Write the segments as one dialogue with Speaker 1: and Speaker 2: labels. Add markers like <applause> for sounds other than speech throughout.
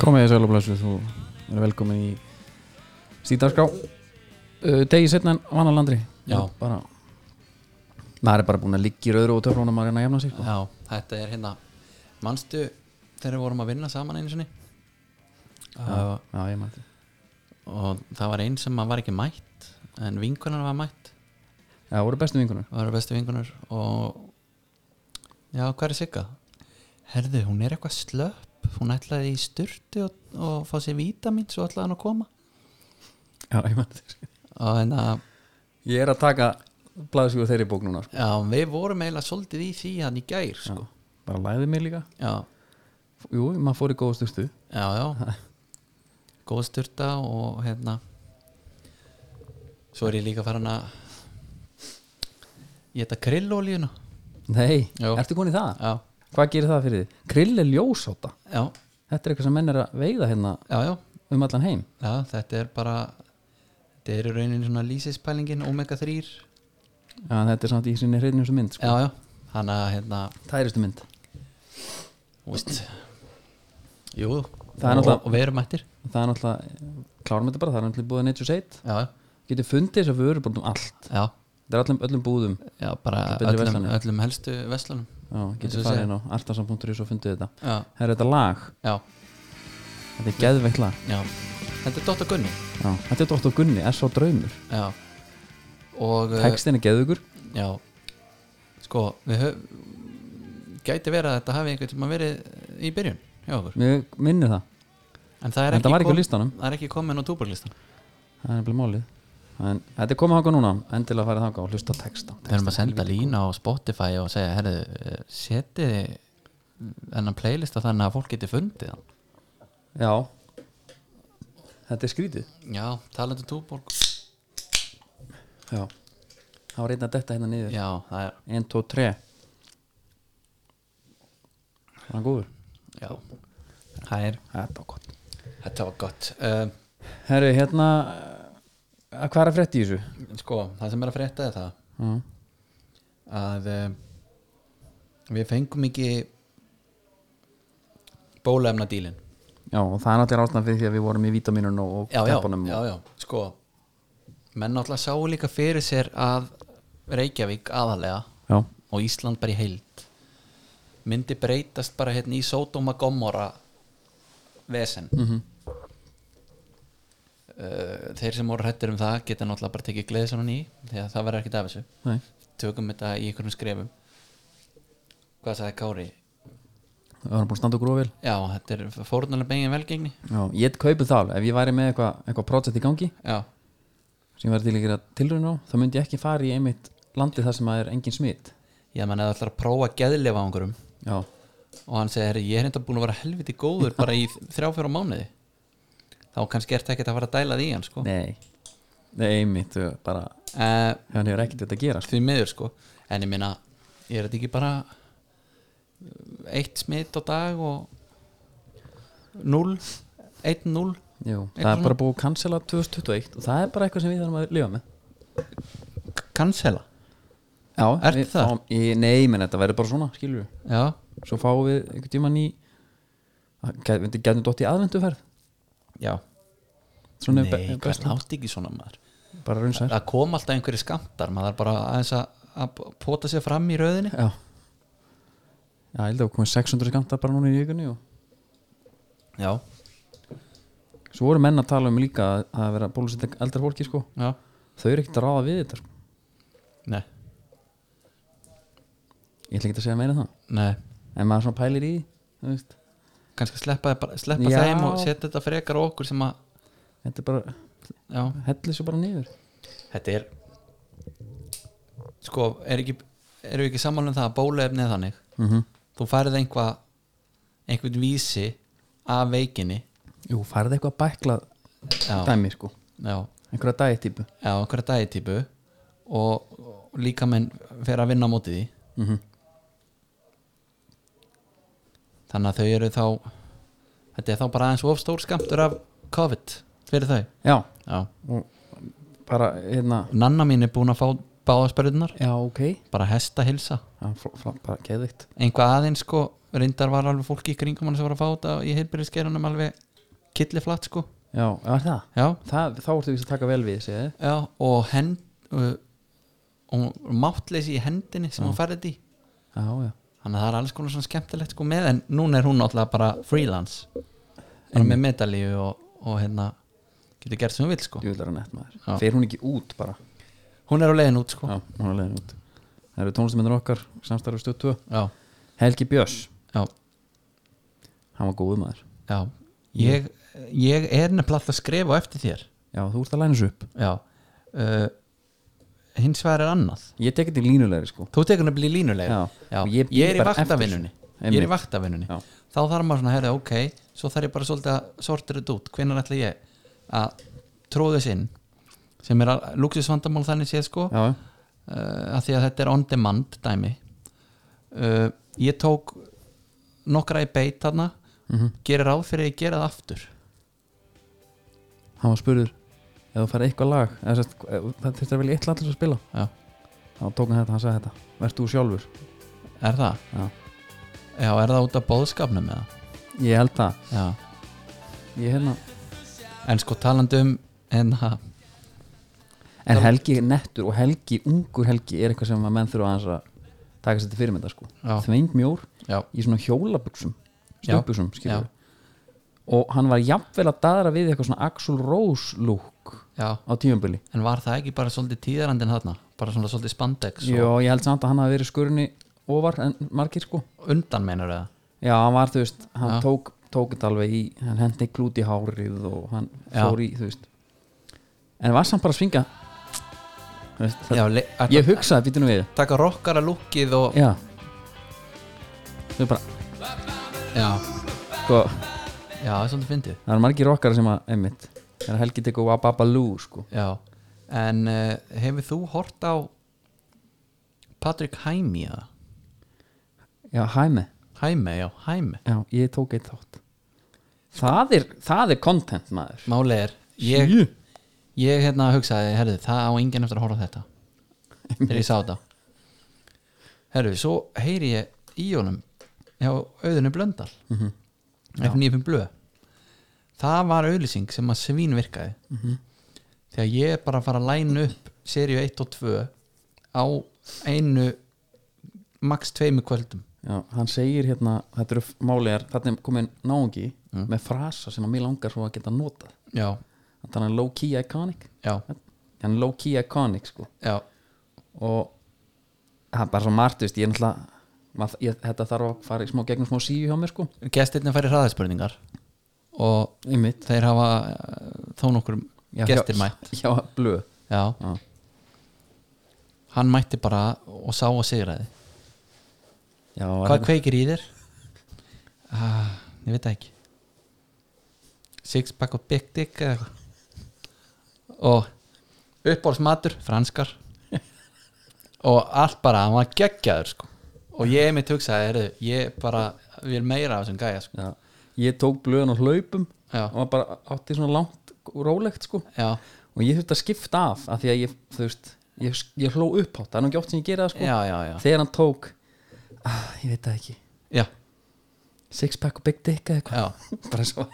Speaker 1: Komið þið sælublesu, þú er velkomin í Stíðarská uh, Degi setna en vannar landri
Speaker 2: Já.
Speaker 1: bara, Maður er bara búin að liggja í öðru og töfrónum að reyna að jafna sig sko.
Speaker 2: Já, þetta er hérna Manstu þegar við vorum að vinna saman einu sinni uh,
Speaker 1: Já, ég mætti
Speaker 2: Og það var einn sem var ekki mætt En vinkunar var mætt
Speaker 1: Já, voru bestu vingunum
Speaker 2: Það var bestu vinkunar Og já, hvað er Sigga? Herðu, hún er eitthvað slöpp Hún ætlaði í sturtu og, og fá sér vítamín Svo ætlaði hann að koma
Speaker 1: Já, ég mætti
Speaker 2: Og hérna, þannig að
Speaker 1: Ég er að taka blaðsíku þeirri bók núna sko.
Speaker 2: Já, við vorum eiginlega svolítið í því hann í gær sko.
Speaker 1: Bara læðið mig líka
Speaker 2: Já,
Speaker 1: Jú, maður fór í góða styrstu
Speaker 2: já, já. Góð styrta og hérna Svo er ég líka farin að Ég þetta krillolíuna
Speaker 1: Nei,
Speaker 2: Jú.
Speaker 1: ertu konið það?
Speaker 2: Já,
Speaker 1: Hvað gerir það fyrir þið? Krill er ljósóta
Speaker 2: já,
Speaker 1: Þetta er eitthvað sem menn er að veiða hérna
Speaker 2: já, já,
Speaker 1: um allan heim
Speaker 2: já Þetta er bara Þetta er í rauninni svona lýsispælingin Omega 3
Speaker 1: Já, en þetta er samt í sinni hreinjustu mynd sko.
Speaker 2: Já, já, hann að hérna
Speaker 1: Tæristu mynd
Speaker 2: þú veist,
Speaker 1: Það
Speaker 2: Jú,
Speaker 1: er
Speaker 2: og,
Speaker 1: náttúrulega-
Speaker 2: og við erum ættir
Speaker 1: það er náttúrulega, eh, klárum þetta bara það er náttúrulega búið að Nature's 8
Speaker 2: Já, já,
Speaker 1: getið fundið þess að vöru bara um allt
Speaker 2: já,
Speaker 1: það er öllum, öllum búðum
Speaker 2: já bara
Speaker 1: Betri
Speaker 2: öllum,
Speaker 1: verslanir.
Speaker 2: öllum helstu veslanum
Speaker 1: já,
Speaker 2: Eins og
Speaker 1: getið
Speaker 2: ég
Speaker 1: farið
Speaker 2: segi.
Speaker 1: inn á artasan.is og fundið þetta
Speaker 2: Já,
Speaker 1: það er þetta lag,
Speaker 2: já,
Speaker 1: þetta er geðveikt lag
Speaker 2: já Þetta er Dóta Gunni
Speaker 1: já, þetta er Dóttur Gunni, S.O. Draumur
Speaker 2: Já Og eh,
Speaker 1: textin er geðugur
Speaker 2: Já Sko við höf Gæti verið að þetta hafi einhvern tíma verið eh, í byrjun hjá okkur
Speaker 1: mér minnir það,
Speaker 2: En það er
Speaker 1: en
Speaker 2: ekki,
Speaker 1: það var ekki
Speaker 2: kom-
Speaker 1: á listanum
Speaker 2: það er ekki komin á túborglistan
Speaker 1: það er nefnilega málið en þetta er komið hanga núna, endilega farið hanga og hlusta á texta
Speaker 2: Við erum að senda lína á Spotify og segja Herðu, eh, setiði þennan playlista þannig að fólk geti fundið hann
Speaker 1: já, þetta er skrítið
Speaker 2: Já, talandi um túborg
Speaker 1: já, það var einn að detta hérna niður
Speaker 2: Já, það er
Speaker 1: 1, 2, 3 var hann góður?
Speaker 2: Já Það er
Speaker 1: þetta var gott
Speaker 2: Þetta var gott um,
Speaker 1: Herri, hérna eh, Hvað er að frétta í þessu?
Speaker 2: Sko, það sem er að frétta er það
Speaker 1: Já,
Speaker 2: að um, við fengum ekki bólaefna dílin
Speaker 1: já og það er náttúrulega ástæðan fyrir því að við vorum í vítaminun og, og
Speaker 2: já, já,
Speaker 1: teppunum
Speaker 2: já,
Speaker 1: og,
Speaker 2: já, sko menn náttúrulega sáu líka fyrir sér að Reykjavík aðalega
Speaker 1: já.
Speaker 2: og Ísland bara í heild myndi breytast bara hérna í Sódóma Gomora vesen
Speaker 1: Mhm.
Speaker 2: Uh, þeir sem voru hættir um það geta náttúrulega bara tekið gleðisónan í því að það verður ekkert af þessu
Speaker 1: Nei,
Speaker 2: tökum þetta í einhverjum skrefum hvað sagði Kári?
Speaker 1: það var búin að standa okkur ofil
Speaker 2: Já, þetta er fórnulega megin velgengni
Speaker 1: Já, ég kaupið þá, alveg. ef ég væri með eitthvað eitthva project í gangi
Speaker 2: Já,
Speaker 1: sem ég væri til að gera tilraun á þá myndi ég ekki fara í einmitt landið þar sem að er engin smitt
Speaker 2: ég menn að það ætlar að prófa að geðlefa á einhverjum
Speaker 1: Já,
Speaker 2: og hann segir, "Herri, ég er enda búin að vera helviti góður bara í <laughs> þrjá fjóra mánuði þá kannski ert ekkert að fara að dæla því í hann sko.
Speaker 1: nei Nei, einmitt, þú bara
Speaker 2: uh,
Speaker 1: hann hefur ekkert þetta að gera sko.
Speaker 2: því miður sko en ég minna, ég er þetta ekki bara eitt smitt á dag og 0 1 0
Speaker 1: Jú, það
Speaker 2: Eitthvað
Speaker 1: er bara búið að cancela 2021 og það er bara eitthvað sem við þarfum að lifa með
Speaker 2: cancela
Speaker 1: Já,
Speaker 2: Ertu
Speaker 1: við,
Speaker 2: það?
Speaker 1: Á, ég, nei, menn þetta verður bara svona, skilur við
Speaker 2: Já,
Speaker 1: svo fáum við einhvern tíman í gætum dótt í aðvenduferð
Speaker 2: já
Speaker 1: svona er
Speaker 2: Nei,
Speaker 1: be- best
Speaker 2: hvernig átti ekki svona maður
Speaker 1: bara raunsæð
Speaker 2: Það kom alltaf einhverju skamtar maður þarf bara aðeins að, að pota sér fram í röðinni
Speaker 1: já já, ég held að við komum 600 skamta bara núna í vikunni og
Speaker 2: Já,
Speaker 1: svo voru menn að tala um líka að- að vera bólusett eldra fólki sko
Speaker 2: já,
Speaker 1: þau eru ekkert að ráða við þetta sko.
Speaker 2: nei,
Speaker 1: ég ætla ekki að segja meira en það
Speaker 2: nei
Speaker 1: en maður svona pælir í því, þú veist
Speaker 2: kannski sleppa, þeim bara- sleppa
Speaker 1: Já.
Speaker 2: þeim og setja þetta frekar á okkur sem að
Speaker 1: þetta er bara
Speaker 2: já,
Speaker 1: hellir svo bara niður
Speaker 2: þetta er sko, er ekki erum við ekki sammála um það að bólaefni er þannig
Speaker 1: mm
Speaker 2: þú færið einhvað einhvern vísi af veikinni
Speaker 1: jú, farið eitthvað að bækla
Speaker 2: já,
Speaker 1: dæmi sko
Speaker 2: já,
Speaker 1: einhverja dægitípu
Speaker 2: já, einhverja dagitýpu og, og líka menn fer að vinna á móti því
Speaker 1: mm -hmm.
Speaker 2: þannig að þau eru þá þetta er þá bara aðeins of stór skamtur af COVID fyrir þau
Speaker 1: já,
Speaker 2: já.
Speaker 1: bara hérna
Speaker 2: nanna mín er búin að fá báðaspörðunar
Speaker 1: já, ok
Speaker 2: bara hesta hilsa
Speaker 1: Já, fl- fl- bara geðvikt
Speaker 2: einhvað aðeins sko reyndar var alveg fólki í kringum hann sem var að fá þetta í heilbyrðiskerunum alveg killiflatt sko
Speaker 1: Já, var það?
Speaker 2: já,
Speaker 1: það þá ertu víst að taka vel við, segið þið
Speaker 2: já og hend uh, og máttleysi í hendinni sem
Speaker 1: Já.
Speaker 2: hún færði þetta í
Speaker 1: Já, já
Speaker 2: þannig að það er alls konar svona skemmtilegt sko með en núna er hún náttúrulega bara freelance bara með medalíu og, og hérna getur gert sem hún vil sko
Speaker 1: Jú, það er að nett maður
Speaker 2: Já.
Speaker 1: Fer hún ekki út bara
Speaker 2: hún er á leiðin út sko
Speaker 1: Já, hún er leiðin út Það eru tónlistamennar okkar, samstarfi stöð 2
Speaker 2: já,
Speaker 1: Helgi Björs,
Speaker 2: já,
Speaker 1: hann var góðu maður
Speaker 2: já. Ég, ég er nefnilega alltaf að skrifa á eftir þér
Speaker 1: Já, þú ert að læna þessu upp
Speaker 2: já uh, hins vegar er annað
Speaker 1: Ég tekið til línulegri sko
Speaker 2: þú tekur nefnilega í línulega
Speaker 1: Já.
Speaker 2: já.
Speaker 1: Og ég
Speaker 2: Ég,
Speaker 1: býð
Speaker 2: er í
Speaker 1: bara eftir
Speaker 2: vaktavinnunni
Speaker 1: þessu.
Speaker 2: ég er
Speaker 1: Einmitt.
Speaker 2: í vaktavinnunni
Speaker 1: Já.
Speaker 2: þá þarf maður svona að herra ok svo þarf ég bara svolítið að sortir þetta út hvenær ætla ég að tróða þess inn sem er að luxusvandamál þannig séð sko
Speaker 1: Já, já.
Speaker 2: uh, að því að þetta er on demand dæmi uh, ég tók nokkra í beit þarna
Speaker 1: Mhm.
Speaker 2: gerir ráð fyrir að ég gera það aftur
Speaker 1: hann var spurður ef þú farið eitthvað lag eða sest, það þurfti að velja eitt lag til að spila
Speaker 2: Já.
Speaker 1: þá tók hann þetta, hann sagði þetta verðst þú sjálfur
Speaker 2: er það?
Speaker 1: Já.
Speaker 2: já, er það út af bóðskapnum eða?
Speaker 1: ég held það
Speaker 2: Já.
Speaker 1: ég hérna
Speaker 2: en sko talandi um en ha,
Speaker 1: en Helgi er nettur og Helgi, ungur Helgi er eitthvað sem að menn þurfa aðeins að taka sér til fyrirmynda sko
Speaker 2: Já.
Speaker 1: þvengmjór
Speaker 2: já,
Speaker 1: í svona hjólabuxum stöpuxum
Speaker 2: Já.
Speaker 1: skilur og hann var jafnvel að daðra við eitthvað svona Axl Rose look
Speaker 2: já
Speaker 1: á tíumbili
Speaker 2: en var það ekki bara svolítið tíðarandinn þarna bara svona svolítið spandex
Speaker 1: Jó,
Speaker 2: og
Speaker 1: ég held samt að hann hafi verið skurni ofar en margir sko
Speaker 2: undan meinar það
Speaker 1: Já, hann var, þú veist, hann
Speaker 2: Já.
Speaker 1: tók tók þetta alveg í, hann hendi klút í hárið og hann
Speaker 2: Já.
Speaker 1: fór í, þú veist en var samt bara að svinga þú veist, það,
Speaker 2: já, le- að
Speaker 1: ég hugsaði býtunum við
Speaker 2: taka rockara lukkið og
Speaker 1: já þau bara,
Speaker 2: já,
Speaker 1: sko,
Speaker 2: já, það er svolítið fyndið
Speaker 1: það eru margir okkar sem að, einmitt, þegar Helgi tekur Wababalú, sko,
Speaker 2: Já, en uh, hefur þú hort á Patrick Hæmi eða?
Speaker 1: já, hæmi
Speaker 2: Hæmi, já, Hæmi
Speaker 1: já, ég tók eitt þátt það er, það er content, maður
Speaker 2: Máli er, ég,
Speaker 1: Jú.
Speaker 2: ég hérna hugsaði, herðu, það á enginn eftir að horfa á þetta þegar ég sá þetta Herðu, svo heyri ég í honum hjá auðinu blöndal mm -hmm. F95 blöð Það var auðlýsing sem að svín virkaði þegar ég er bara að fara að læna upp seríu 1 og 2 á einu max tveimu kvöldum
Speaker 1: já, hann segir hérna, þetta eru málegar þarna er komin náungi
Speaker 2: Mm.
Speaker 1: með frasa sem að mér langar svo að geta notað
Speaker 2: Já,
Speaker 1: þannig að hann er low key iconic
Speaker 2: já,
Speaker 1: hann er low key iconic sko
Speaker 2: já,
Speaker 1: og það er bara svo margt þú veist, ég er náttúrulega mað, ég, þetta þarf að fara í smá gegnum smá síu hjá mér sko
Speaker 2: gestirna færi hraðaspurningar og
Speaker 1: einmitt
Speaker 2: þeir hafa eh, þó nokkur gestir mætt
Speaker 1: hjá, hjá blöð
Speaker 2: já.
Speaker 1: Já.
Speaker 2: hann mætti bara og sá og sigraði
Speaker 1: já,
Speaker 2: hvað kveikir í þér? Ah, ég veit það ekki sixpack og big dick eða eitthvað. og uppbólsmatur <laughs> franskar og allt bara, hann var geggjaður sko. og ég mitt hugsaði, heyrðu, ég bara vil meira af þessum gæja sko.
Speaker 1: já, ég tók blöðan á hlaupum
Speaker 2: Já.
Speaker 1: og var bara átti svona langt og rólegt sko
Speaker 2: já,
Speaker 1: og ég þurfti að skipta af af því að ég, þú veist, ég, ég hló upp það er nú ekki oft sem ég gera það sko
Speaker 2: já, já, já.
Speaker 1: þegar hann tók, ah, ég veit það ekki
Speaker 2: já,
Speaker 1: six pack og big dick eða
Speaker 2: já.
Speaker 1: eitthvað <laughs> bara svo,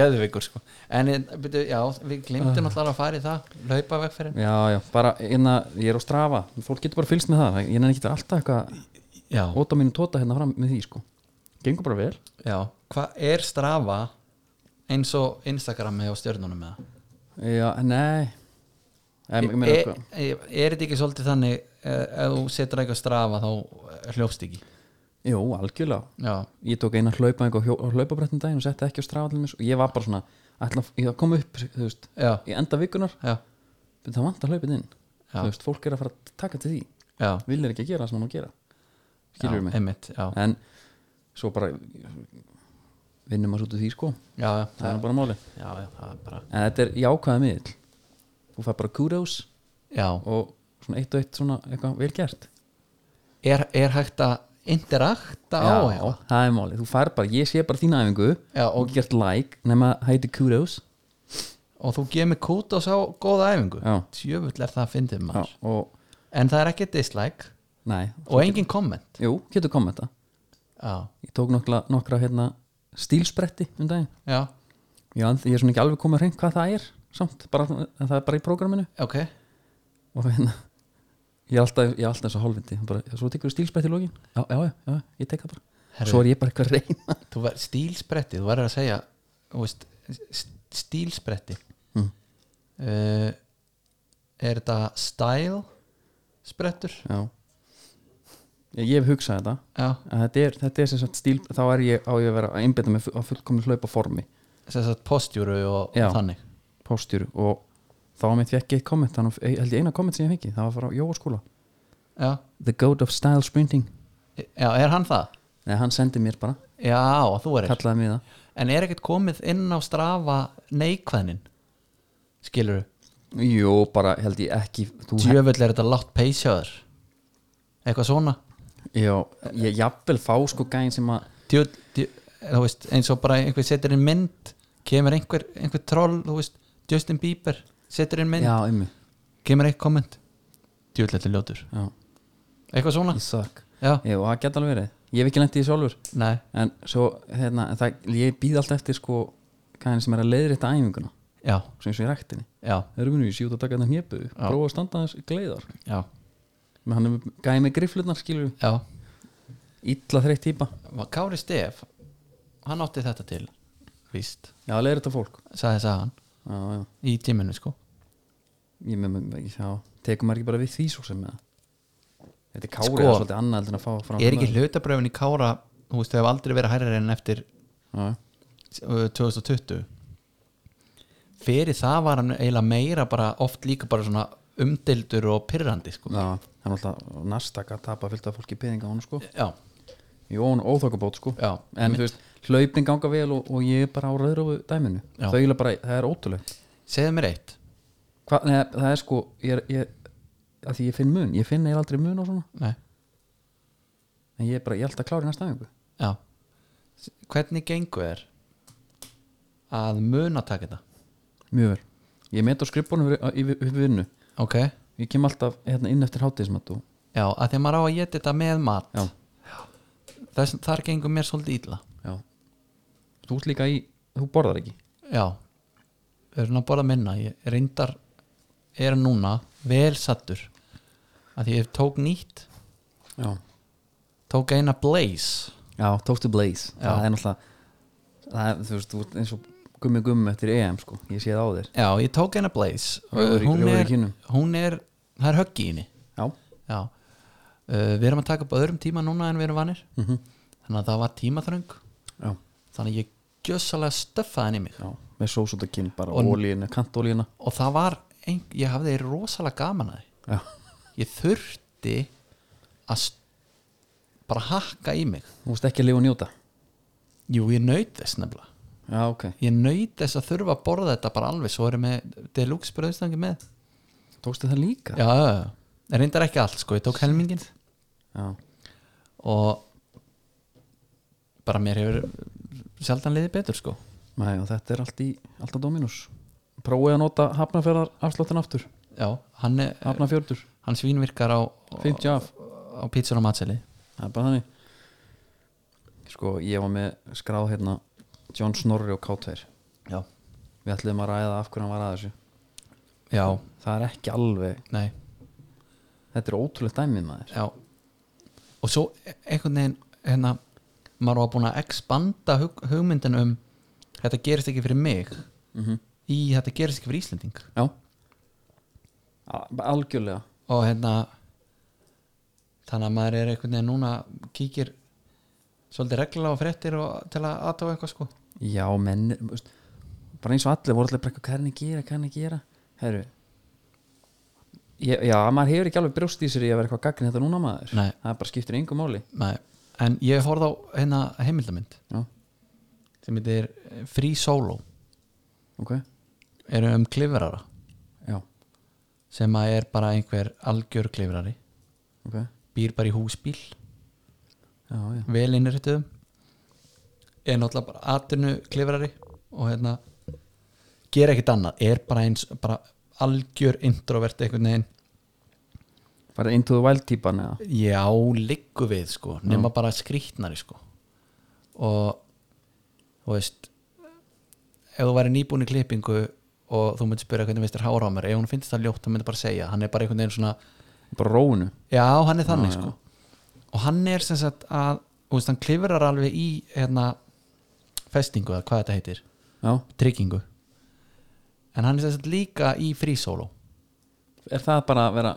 Speaker 2: geðvikur sko en eh, byrju, já, við glimtum alltaf að fara í það laupa vegferðin
Speaker 1: já, já, bara inna, ég er á strafa, fólk getur bara fylgst með það ég nefnir ekki alltaf eitthvað
Speaker 2: já,
Speaker 1: óta mínu tóta hérna fram með því sko gengur bara vel
Speaker 2: já. hvað er strafa eins og Instagrami og stjörnunum með
Speaker 1: já, nei em, ég
Speaker 2: það
Speaker 1: meina sko.
Speaker 2: er,
Speaker 1: eitthvað
Speaker 2: er, E- er þetta ekki svolítið þannig eh, ef þú setur eitthvað strafa þá eh, hljópst ekki
Speaker 1: jú, algjörlega
Speaker 2: já,
Speaker 1: ég tók eina hlaupa einhver hjó- á hlaupabrettin daginn og setti ekki á strafa til mér og ég var bara svona ætla, ég var að koma upp, þú veist
Speaker 2: já,
Speaker 1: í enda vikunar,
Speaker 2: já,
Speaker 1: það vantar hlaupin inn
Speaker 2: Já.
Speaker 1: þú veist, fólk er að fara að taka til því
Speaker 2: já,
Speaker 1: viljir ekki að gera það sem hann á að gera
Speaker 2: já
Speaker 1: skilur mig,
Speaker 2: einmitt já,
Speaker 1: en svo bara vinnum maður svo út úr því sko
Speaker 2: já, já,
Speaker 1: það
Speaker 2: það,
Speaker 1: er bara máli,
Speaker 2: já, já, það er bara
Speaker 1: en þetta er jákvæða miðl þú fær bara kudos
Speaker 2: já,
Speaker 1: og svona eitt og eitt svona eitthvað vel gert
Speaker 2: er, er hægt að interakta á eitthvað?
Speaker 1: það er málið, þú fær bara, ég sé bara þína æfingu
Speaker 2: Já,
Speaker 1: og gert like, nema hæti kudos
Speaker 2: og þú gefur mig kút og sá góða æfingu
Speaker 1: Já.
Speaker 2: tjöfull er það að fyndið
Speaker 1: já,
Speaker 2: maður
Speaker 1: og,
Speaker 2: en það er ekki dislike
Speaker 1: nei,
Speaker 2: og engin komment
Speaker 1: jú, getur kommenta
Speaker 2: já,
Speaker 1: ég tók nokkla, nokkra hérna stílspretti um daginn
Speaker 2: já,
Speaker 1: ég, and- ég er svona ekki alveg komið hreint hvað það er samt, bara, svona- en það er bara í prógraminu
Speaker 2: ok,
Speaker 1: og hérna ég er alltaf, ég er alltaf eins og hálfindi bara, já, svo tekur við stílsbætt í lógin já, já, já, já, ég tek það bara
Speaker 2: herru,
Speaker 1: svo er ég bara eitthvað reyn
Speaker 2: þú ver, stílspretti, þú verður að segja þú veist, st- stílspretti
Speaker 1: Mm.
Speaker 2: uh, er þetta style sprettur
Speaker 1: já ég, ég hef hugsað þetta
Speaker 2: já,
Speaker 1: að þetta er, þetta er sem sagt stíl þá er ég á ég að vera að einbeta mig fu- á fullkomlu hlaupa formi
Speaker 2: sem sagt postjúru og,
Speaker 1: Já.
Speaker 2: og þannig
Speaker 1: postjúru og þá mitt fekk ég eitt komment þannig að- held ég eina komment sem ég fekk það var frá Jóa skóla
Speaker 2: já.
Speaker 1: The God of Style Sprinting
Speaker 2: já, er hann það?
Speaker 1: Nei, hann sendi mér bara,
Speaker 2: já, þú er
Speaker 1: kallaði mér það
Speaker 2: en er ekkert komið inn á strafa neikvæðnin skilur
Speaker 1: Jú, bara held ég ekki þú,
Speaker 2: þú djöfull er þetta látt peysjáður eitthvað svona
Speaker 1: Já, ég jafnvel fá sko gæn sem að
Speaker 2: djöfull, djöfull, þú veist, eins og bara einhver setur inn mynd kemur einhver, einhver troll þú veist, Justin Bieber setur inn mynd,
Speaker 1: Já, ymmi,
Speaker 2: kemur einhver komment djöfull þetta er ljótur
Speaker 1: já,
Speaker 2: eitthvað svona,
Speaker 1: ég sakk
Speaker 2: já,
Speaker 1: Jú, það geta alveg verið, ég hef ekki lent í því sjálfur
Speaker 2: nei
Speaker 1: En svo, hérna, en það, ég býð allt eftir sko gæn sem er að leiðrétta æfinguna
Speaker 2: já,
Speaker 1: sem eins og í ræktinni
Speaker 2: já,
Speaker 1: Erum við nú í sjút að taka þetta hnébu Prófa að standa aðeins gleiðar
Speaker 2: já,
Speaker 1: Men hann er gæði með grifflutnar skilur
Speaker 2: já
Speaker 1: Ítla þreytt típa
Speaker 2: Var Kári Stef hann átti þetta til, víst
Speaker 1: Já, leiðrétta fólk
Speaker 2: sagði sagðan,
Speaker 1: Já, já,
Speaker 2: í tíminu sko
Speaker 1: ég með mig ekki Já, tekum maður ekki bara við því svo sem með Þetta er kári
Speaker 2: Sko.
Speaker 1: sko, er svolítið annað heldur en að fá fram
Speaker 2: er ekki hlutabröfin í Kára þú veist, þau hafa aldrei verið hærri en eftir
Speaker 1: Já, já.
Speaker 2: uh, 2020 fyrir það var hann eiginlega meira bara oft líka bara svona umdildur og pyrrandi sko
Speaker 1: Já, það er alltaf Nasdaq að tapa fylgta fólki peninga á hún sko
Speaker 2: já,
Speaker 1: Jón óþokkabót sko
Speaker 2: já,
Speaker 1: En þú veist, hlaupin ganga vel og, og ég er bara á rauðrófu dæminu
Speaker 2: Já.
Speaker 1: Þau eiginlega bara, það er ótrúlegt
Speaker 2: segðu mér eitt
Speaker 1: Hva, nei, Það er sko, ég, er- ég, að því ég finn mun Ég finn eða aldrei mun á svona
Speaker 2: Nei.
Speaker 1: En ég er bara, ég er alltaf klári næsta æfingu
Speaker 2: já S- hvernig gengur þér að muna taka þetta
Speaker 1: Mjög vel Ég met á skrifbónu yfir, yfir, yfir vinnu
Speaker 2: ok,
Speaker 1: Ég kem alltaf hérna, inn eftir hátíðismat og
Speaker 2: já, að því að maður á að geta þetta með mat
Speaker 1: Já.
Speaker 2: Þess, þar gengur mér svolítið illa
Speaker 1: Já Þú ert líka í, þú borðar ekki
Speaker 2: já, við erum að borða minna ég reyndar er núna vel sattur að því ég tók nýtt
Speaker 1: Já
Speaker 2: tók eina Blaze
Speaker 1: Já, Toasted Blaze
Speaker 2: Já.
Speaker 1: Það er náttúrulega það er, Þú veist, þú ert eins og gummi gummi eftir EM sko Ég sé það á þér
Speaker 2: já, ég tók eina Blaze
Speaker 1: Rjóður í-
Speaker 2: hún
Speaker 1: rjóður í
Speaker 2: er,
Speaker 1: kinnum.
Speaker 2: hún er það er höggi í henni
Speaker 1: Já
Speaker 2: já. Uh, við erum að taka upp á öðrum tíma núna en við erum vanir
Speaker 1: mm
Speaker 2: þannig að það var tímaþröng
Speaker 1: Já,
Speaker 2: þannig að ég gjössalega stöffaði henni mig
Speaker 1: já Með sósundakinn bara
Speaker 2: Og-
Speaker 1: og ólíinu, kantólíina
Speaker 2: og það var, ein, ég hafði rosalega gaman að því
Speaker 1: Já
Speaker 2: ég þurfti að s- bara hakka í mig
Speaker 1: Þú veist ekki að lifa og njóta
Speaker 2: jú, ég naut þess nefnilega
Speaker 1: Já, ok
Speaker 2: ég naut þess að þurfa að borða þetta bara alveg svo erum við deluxe bröðstangi með
Speaker 1: Tókstu það líka
Speaker 2: já, já, já. reyndar ekki allt sko, ég tók helmingin
Speaker 1: Já,
Speaker 2: og bara mér hefur sjaldan liðið betur sko
Speaker 1: Nei, og þetta er allt í, allt á Dominus Prófið að nota hafnafjörðar afsláttin aftur
Speaker 2: já, hann, er,
Speaker 1: Hafnafjörður,
Speaker 2: hann svínvirkar á
Speaker 1: 50 af
Speaker 2: á pítsur og matseli
Speaker 1: Það er bara þannig Sko, ég var með skráð hérna John Snorri og K2
Speaker 2: já,
Speaker 1: Við ætluðum að ræða af hverju hann var að þessu
Speaker 2: já,
Speaker 1: Það er ekki alveg
Speaker 2: nei
Speaker 1: Þetta er ótrúlegt dæmið maður
Speaker 2: já. og svo e- einhvern veginn hérna, maður var búin að expanda hug, hugmyndin um þetta gerist ekki fyrir mig
Speaker 1: Mhm.
Speaker 2: í þetta gerist ekki fyrir Íslending
Speaker 1: Já A- Algjörlega
Speaker 2: og hérna þannig að maður er einhvern veginn núna kíkir svolítið reglulega á fréttir og til að aðtóa eitthvað sko
Speaker 1: Já, menn þú veist, Bara eins og allir voru allir bara eitthvað, Hvað er hann að gera, hvað er hann að gera Herru ég, Já, maður hefur ekki alveg brjóst í sér í að vera eitthvað gaggin þetta núna maður
Speaker 2: Nei.
Speaker 1: Það bara skiptir engu máli
Speaker 2: Nei. en ég horfði á hérna heimildamind
Speaker 1: Já,
Speaker 2: sem heitir eh, Free Solo
Speaker 1: ok
Speaker 2: eru um klifrara
Speaker 1: Já,
Speaker 2: sem að er bara einhver algjör klifrari
Speaker 1: ok Já,
Speaker 2: býr bara í húsbíl
Speaker 1: já,
Speaker 2: vel innréttuðum er náttúrulega bara atinu klifrari og hérna gera ekkert annað, er bara eins bara algjör introvert einhvern veginn
Speaker 1: bara into the wild típan eða
Speaker 2: Já, liggu við sko nema bara skrýtnari sko og þú veist ef þú væri nýbúin í klippingu og þú myndir spyrja hvernig veist er hára á mér ef hún finnst það ljótt, hann myndi bara segja hann er bara einhvern veginn svona,
Speaker 1: bara róinu
Speaker 2: já hann er þannig
Speaker 1: Já, já.
Speaker 2: sko og hann er sem sagt að þú veist, hann klifrar alveg í hérna, festingu eða hvað þetta heitir
Speaker 1: já,
Speaker 2: tryggingu en hann er sem sagt líka í frísólu
Speaker 1: er það bara að vera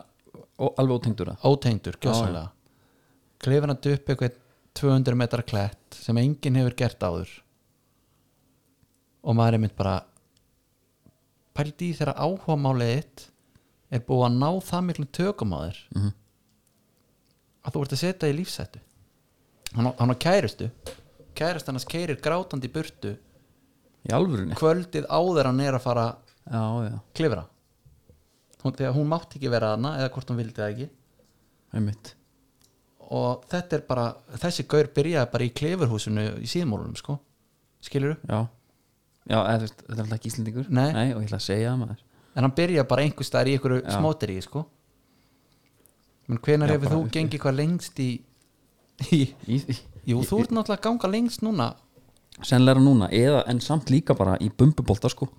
Speaker 1: ó- alveg ótengdur að
Speaker 2: ótengdur, gjössalega klifur hann upp eitthvað 200 metrar klætt sem enginn hefur gert áður og maður er mynd bara pældi í þegar áhuga máliðitt er búið að ná það miklum tökum á þér
Speaker 1: Mhm.
Speaker 2: að þú ert að setja í lífsættu hann á, hann á kærustu kærust hann keirir grátandi í burtu
Speaker 1: í alvörunni
Speaker 2: kvöldið áður en hann er að fara að
Speaker 1: já, já,
Speaker 2: klifra hún, þegar hún mátti ekki vera hana eða hvort hún vildi það ekki
Speaker 1: einmitt
Speaker 2: og þetta er bara þessi gaur byrjaði bara í klefurhúsinu í síðmólunum sko skilur
Speaker 1: já, já eða, þú veist, þetta er alltaf ekki íslendingur
Speaker 2: Nei.
Speaker 1: og ég ætla að segja það maður
Speaker 2: en hann byrjaði bara einhvers staðar í einhverju
Speaker 1: Já.
Speaker 2: smóteri sko menn hvenær
Speaker 1: Já,
Speaker 2: hefur
Speaker 1: bara
Speaker 2: þú
Speaker 1: uppi.
Speaker 2: gengið hvað lengst í, í
Speaker 1: í, í,
Speaker 2: jú þú ert náttúrulega að ganga lengst núna
Speaker 1: sennilega núna, eða en samt líka bara í bumbubolta sko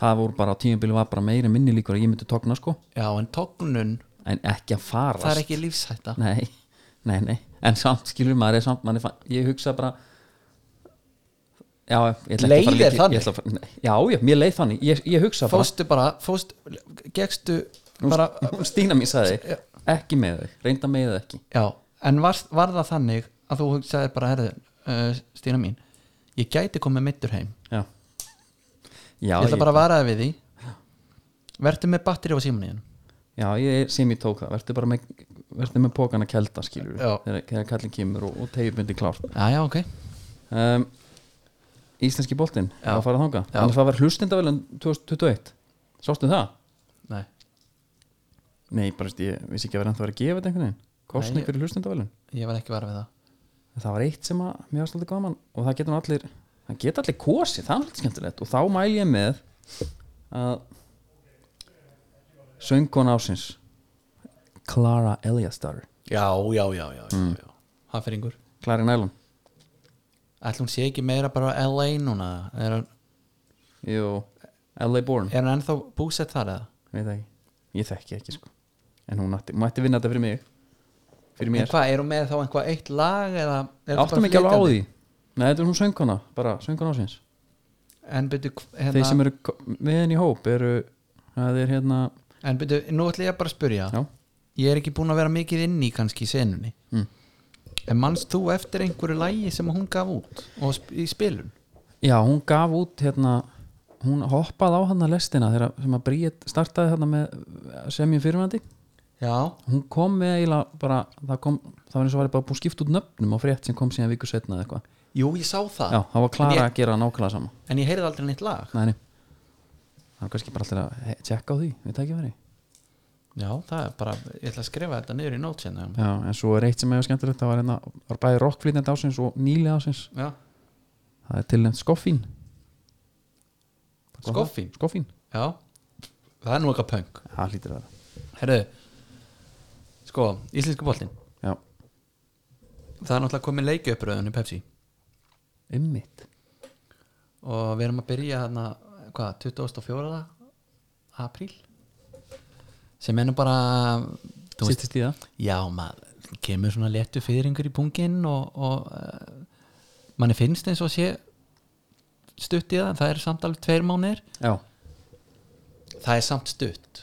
Speaker 1: það voru bara, tímabili var bara meiri minni líkur að ég myndi tókna sko,
Speaker 2: já en tognun
Speaker 1: en ekki að farast
Speaker 2: það er ekki lífshætta
Speaker 1: nei, nei, nei, en samt skilur maður er samt, maður er, fa- ég hugsa bara já, ég ætla
Speaker 2: Leið
Speaker 1: ekki að fara
Speaker 2: er
Speaker 1: líki-
Speaker 2: þannig?
Speaker 1: ég ætla að fara- nei, já, já, mér leið þannig, ég, ég hugsa <laughs>
Speaker 2: fóstu bara fóst, gegstu bara
Speaker 1: bara hún Stína mín sagði, ekki með þau reynda með þau ekki,
Speaker 2: já en var, var það þannig að þú hugsaði bara herðu uh, Stína mín ég gæti komið mittur heim
Speaker 1: já já,
Speaker 2: ég ætla
Speaker 1: ég,
Speaker 2: bara að varaði við því verður með batteri á símaníðin
Speaker 1: já, ég er- sem ég tók það verður bara með, verður með pókan að kelda skilur
Speaker 2: Já.
Speaker 1: þegar, þegar kallin kemur og, og tegjubindi klárt
Speaker 2: já, já, ok
Speaker 1: um, Íslenski boltinn,
Speaker 2: Já.
Speaker 1: það fara þanga
Speaker 2: Já.
Speaker 1: annars það var hlustindavelun 2021 sástu það?
Speaker 2: Nei.
Speaker 1: Nei, bara veist, ég vissi ekki að vera ennþá að vera að gefa þetta einhvern veginn
Speaker 2: Nei,
Speaker 1: Kostning
Speaker 2: ég-
Speaker 1: fyrir hlustendavelun
Speaker 2: ég var ekki varað við það
Speaker 1: Það var eitt sem að mér varst alltaf gaman og það getur nú allir það geta allir kosið, það er alltaf skemmtilegt og þá mæl ég með að söngkona ásins Clara Eliastar
Speaker 2: já, já, já, já,
Speaker 1: Hmm.
Speaker 2: mm. já. haferingur
Speaker 1: Clara Nælum
Speaker 2: ætlum hún sé ekki meira bara á LA núna er hann,
Speaker 1: Jú, LA Born
Speaker 2: er hann ennþá búsett þar eða
Speaker 1: Veit það ekki, ég þekki ekki sko en hún mætti, mætti vinna þetta fyrir mig fyrir
Speaker 2: en
Speaker 1: mér,
Speaker 2: hvað, er hún með þá einhvað eitt lag eða er þetta
Speaker 1: áttum
Speaker 2: bara
Speaker 1: ekki alveg á
Speaker 2: flytjandi?
Speaker 1: því Nei, þetta er hún söngkona, bara söngkona ásins
Speaker 2: en byrju, hv-
Speaker 1: þeir sem
Speaker 2: hérna,
Speaker 1: eru ko- með henni í hóp eru það er hérna
Speaker 2: en byrju, nú ætla ég bara að spyrja
Speaker 1: já,
Speaker 2: ég er ekki búin að vera mikið inn í kannski í senunni
Speaker 1: Mm.
Speaker 2: en manst þú eftir einhverju lægi sem hún gaf út og sp í spilun
Speaker 1: já hún gaf út hérna hún hoppaði á hann að lestina þegar sem að Bríett startaði hérna með semjum fyrirvændi
Speaker 2: já,
Speaker 1: hún kom með eiginlega bara það, kom, það var eins og var bara búið að skipta út nöfnum á frétt sem kom síðan viku setna eða eitthvað
Speaker 2: jú, ég sá það
Speaker 1: já, það var
Speaker 2: Ah. En
Speaker 1: klara
Speaker 2: ég-
Speaker 1: að gera nákvæmlega sama
Speaker 2: en ég heyrði aldrei neitt lag
Speaker 1: Nei, nei. það er kannski bara allir að he- tjekka á því við það ekki verið
Speaker 2: Já, það er bara, ég ætla að skrifa þetta niður í hérna. nót sérna
Speaker 1: já, en svo er eitt sem hefur skemmtilegt það var, hérna, var bæði rockflýtjandi ásins og nýli ásins
Speaker 2: Já,
Speaker 1: það er tilnæmt skoffín
Speaker 2: Skoffín?
Speaker 1: skoffín
Speaker 2: já Það er nú eitthvað punk
Speaker 1: það hlýtir það
Speaker 2: Herru, sko, íslenska boltinn
Speaker 1: Já,
Speaker 2: Það er náttúrulega komið leikjöpröðun í Pepsi
Speaker 1: ymmit
Speaker 2: og við erum að byrja þarna, hvað, 24. apríl sem er nú bara þú veist,
Speaker 1: Sittist í það
Speaker 2: Já, maður kemur svona léttu fyrringur í pungin og, og uh, manni finnst eins og sé stutt í það, en það er samt alveg tveir mánir
Speaker 1: Já,
Speaker 2: það er samt stutt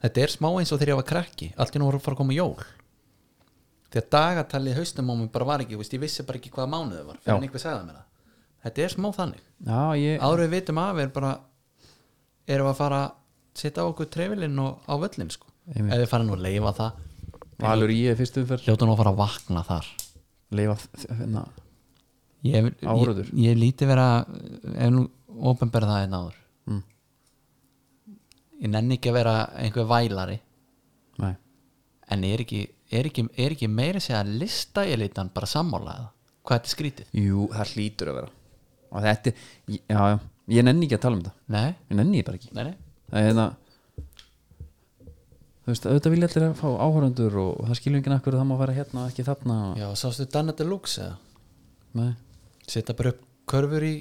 Speaker 2: þetta er smá eins og þegar ég var krakki allt í nú voru að fara að koma jól því að dagatalið haustum á mig bara var ekki þú veist, ég vissi bara ekki hvaða mánuð það var
Speaker 1: Já.
Speaker 2: fyrir en einhver sagði mér það þetta er smá þannig
Speaker 1: já ég
Speaker 2: áður en við vitum af er bara erum við að fara að setja á okkur trefilinn og á völlin sko
Speaker 1: Einmitt.
Speaker 2: ef við farin að leifa það
Speaker 1: Valur í ég fyrstu umferð
Speaker 2: hljóta nú að fara að vakna þar
Speaker 1: Leifa þ- þ- hérna
Speaker 2: ég, ég,
Speaker 1: Áhorfendur.
Speaker 2: ég líti vera ef nú ofinberða það einn áður
Speaker 1: Mm.
Speaker 2: ég nenni ekki að vera einhver vælari
Speaker 1: Nei,
Speaker 2: en er ekki, er ekki, er ekki meira segja að lista ég litan bara sammála eða hvað þetta er skrítið
Speaker 1: jú, það hlýtur að vera Og þetta, er- ég- já, já Ég nenni ekki að tala um þetta
Speaker 2: nei,
Speaker 1: Ég nenni ég bara ekki
Speaker 2: nei, nei,
Speaker 1: Það er hérna Þú veist, auðvitað vilja allir að fá áhörundur og, og það skilur enginn akkur að það má vera hérna og ekki þarna og,
Speaker 2: já, sástu Danna Deluxe eða
Speaker 1: Nei,
Speaker 2: setja bara upp körfur í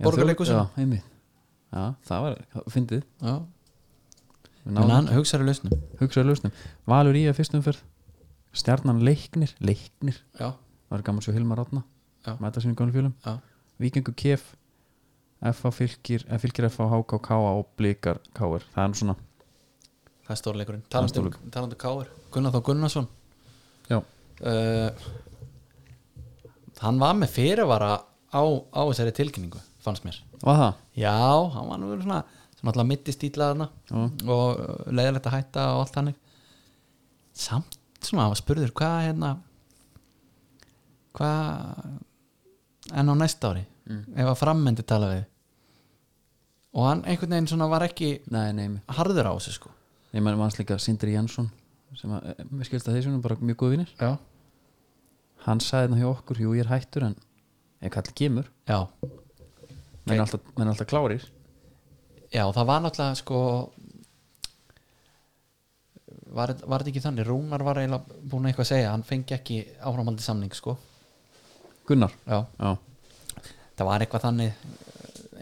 Speaker 2: Borgarleikhúsinu.
Speaker 1: Já, einmitt Já, það var, það fyndið
Speaker 2: já,
Speaker 1: Við
Speaker 2: en
Speaker 1: náðum
Speaker 2: hann hugsaði lausnum
Speaker 1: hugsaðu lausnum Valur í að fyrst umferð Stjarnan leiknir, leiknir
Speaker 2: já,
Speaker 1: Það er gaman svo Hilmar Átna
Speaker 2: Já.
Speaker 1: Mæta sínum gamlu fjölum
Speaker 2: já,
Speaker 1: Víkingu KF FA fylgir, eh, fylgir FA HK KA og blikar KR Það er nú svona
Speaker 2: það er stórleikurinn
Speaker 1: er
Speaker 2: talandi, um- talandi um Káir, Gunnar þá Gunnarsson
Speaker 1: Já,
Speaker 2: uh, hann var með fyrirvara á, á þessari tilkynningu fannst mér
Speaker 1: var það?
Speaker 2: já, hann var nú verið svona svona alltaf mittistýtla þarna og uh, leiðilegt að hætta og allt hannig samt svona, hann var spurður hvað hérna hvað en á næsta ári ef að frammendi tala við og hann einhvern veginn svona var ekki
Speaker 1: Nei, nei, mér
Speaker 2: harður á þessu sko
Speaker 1: Ég menn manns líka Sindri Jansson sem að, eh, mér skilst að þeir sem er bara mjög góð vinnir
Speaker 2: já,
Speaker 1: Hann sagði hérna hjá okkur, jú ég er hættur en ef kall kemur,
Speaker 2: já
Speaker 1: menn er alltaf, menn er alltaf klárir
Speaker 2: Já, það var náttúrulega sko var, var þetta ekki þannig Rúnar var eiginlega búin að eitthvað að segja hann fengi ekki áframhaldi samning sko
Speaker 1: Gunnar,
Speaker 2: Já,
Speaker 1: já,
Speaker 2: það var eitthvað þannig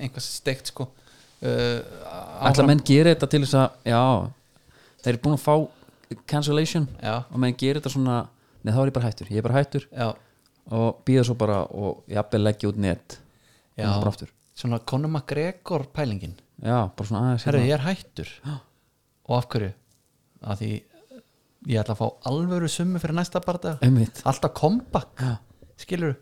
Speaker 2: einhvað steikt sko uh,
Speaker 1: ætla menn gera þetta til þess að já, þeir eru búin að fá cancellation
Speaker 2: Já,
Speaker 1: og menn gera þetta svona nei þá er ég bara hættur, ég er bara hættur
Speaker 2: já,
Speaker 1: og býða svo bara og jafnvel leggja út net
Speaker 2: Já.
Speaker 1: Og það bara aftur
Speaker 2: svona Conor McGregor pælingin
Speaker 1: já, bara svona aðeins
Speaker 2: Herru,
Speaker 1: hérna.
Speaker 2: ég er hættur og af hverju? Af því ég ætla að fá alvöru summu fyrir næsta barða
Speaker 1: hérna. einmitt
Speaker 2: alltaf kompakt
Speaker 1: Já.
Speaker 2: skilur uh,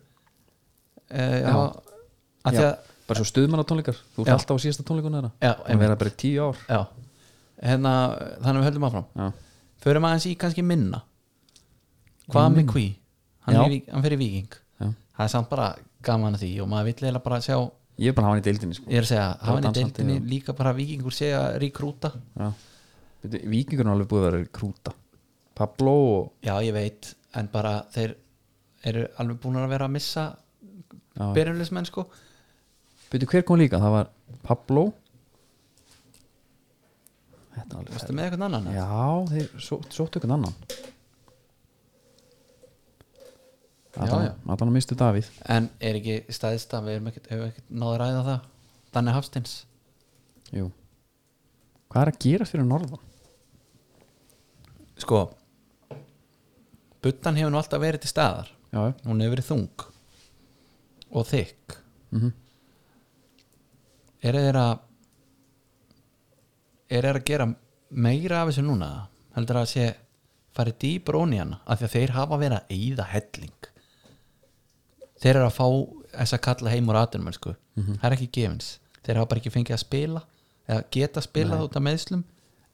Speaker 2: já, Af því
Speaker 1: Já,
Speaker 2: að
Speaker 1: bara svo stuðmannatónleikar, þú ert
Speaker 2: Já.
Speaker 1: alltaf á síðasta tónleikuna þeirra
Speaker 2: Já,
Speaker 1: það verða bara í tíu ár
Speaker 2: Já, hérna, þannig við höldum áfram
Speaker 1: já,
Speaker 2: Förum aðeins í kannski minna Hvað með kví? Hann,
Speaker 1: Já.
Speaker 2: er í Vík- hann fer í Víking
Speaker 1: já.
Speaker 2: Það er samt bara gaman að því og maður vill eiginlega bara sjá Ég
Speaker 1: ég er bara að hafa hann í deildinni sko.
Speaker 2: er að segja,
Speaker 1: Já,
Speaker 2: hafa hann í
Speaker 1: dansandi,
Speaker 2: deildinni líka bara Víkingur sé að ríkrúta
Speaker 1: já. Veitu, vikingurinn er alveg búið að vera í krúta Pablo og
Speaker 2: Já, ég veit, en bara þeir eru alveg búin að vera að missa
Speaker 1: Já.
Speaker 2: byrjumlismenn sko
Speaker 1: Byrju, hver kom líka? Það var Pablo Þetta er alveg
Speaker 2: Varstu með eitthvað annan?
Speaker 1: Já, þeir só- sóttu ykkur annan
Speaker 2: Já, já.
Speaker 1: Allan að mistu Davíð
Speaker 2: En er ekki staðist að við erum ekkert, hefur ekkert náður að ræða það Danni Hafsteins
Speaker 1: Jú Hvað er að gera fyrir norðan?
Speaker 2: Sko Buttan hefur nú alltaf verið til staðar
Speaker 1: Já, já,
Speaker 2: hún hefur verið þung og þykk
Speaker 1: mm
Speaker 2: er þeir að er þeir að gera meira af þessu núna heldur að sé farið dýpur ón í hana af því að þeir hafa verið að eyða helling þeir eru að fá þess að kalla heim úr atunum sko. það er ekki gefins þeir hafa bara ekki fengið að spila eða geta spilað út af meðslum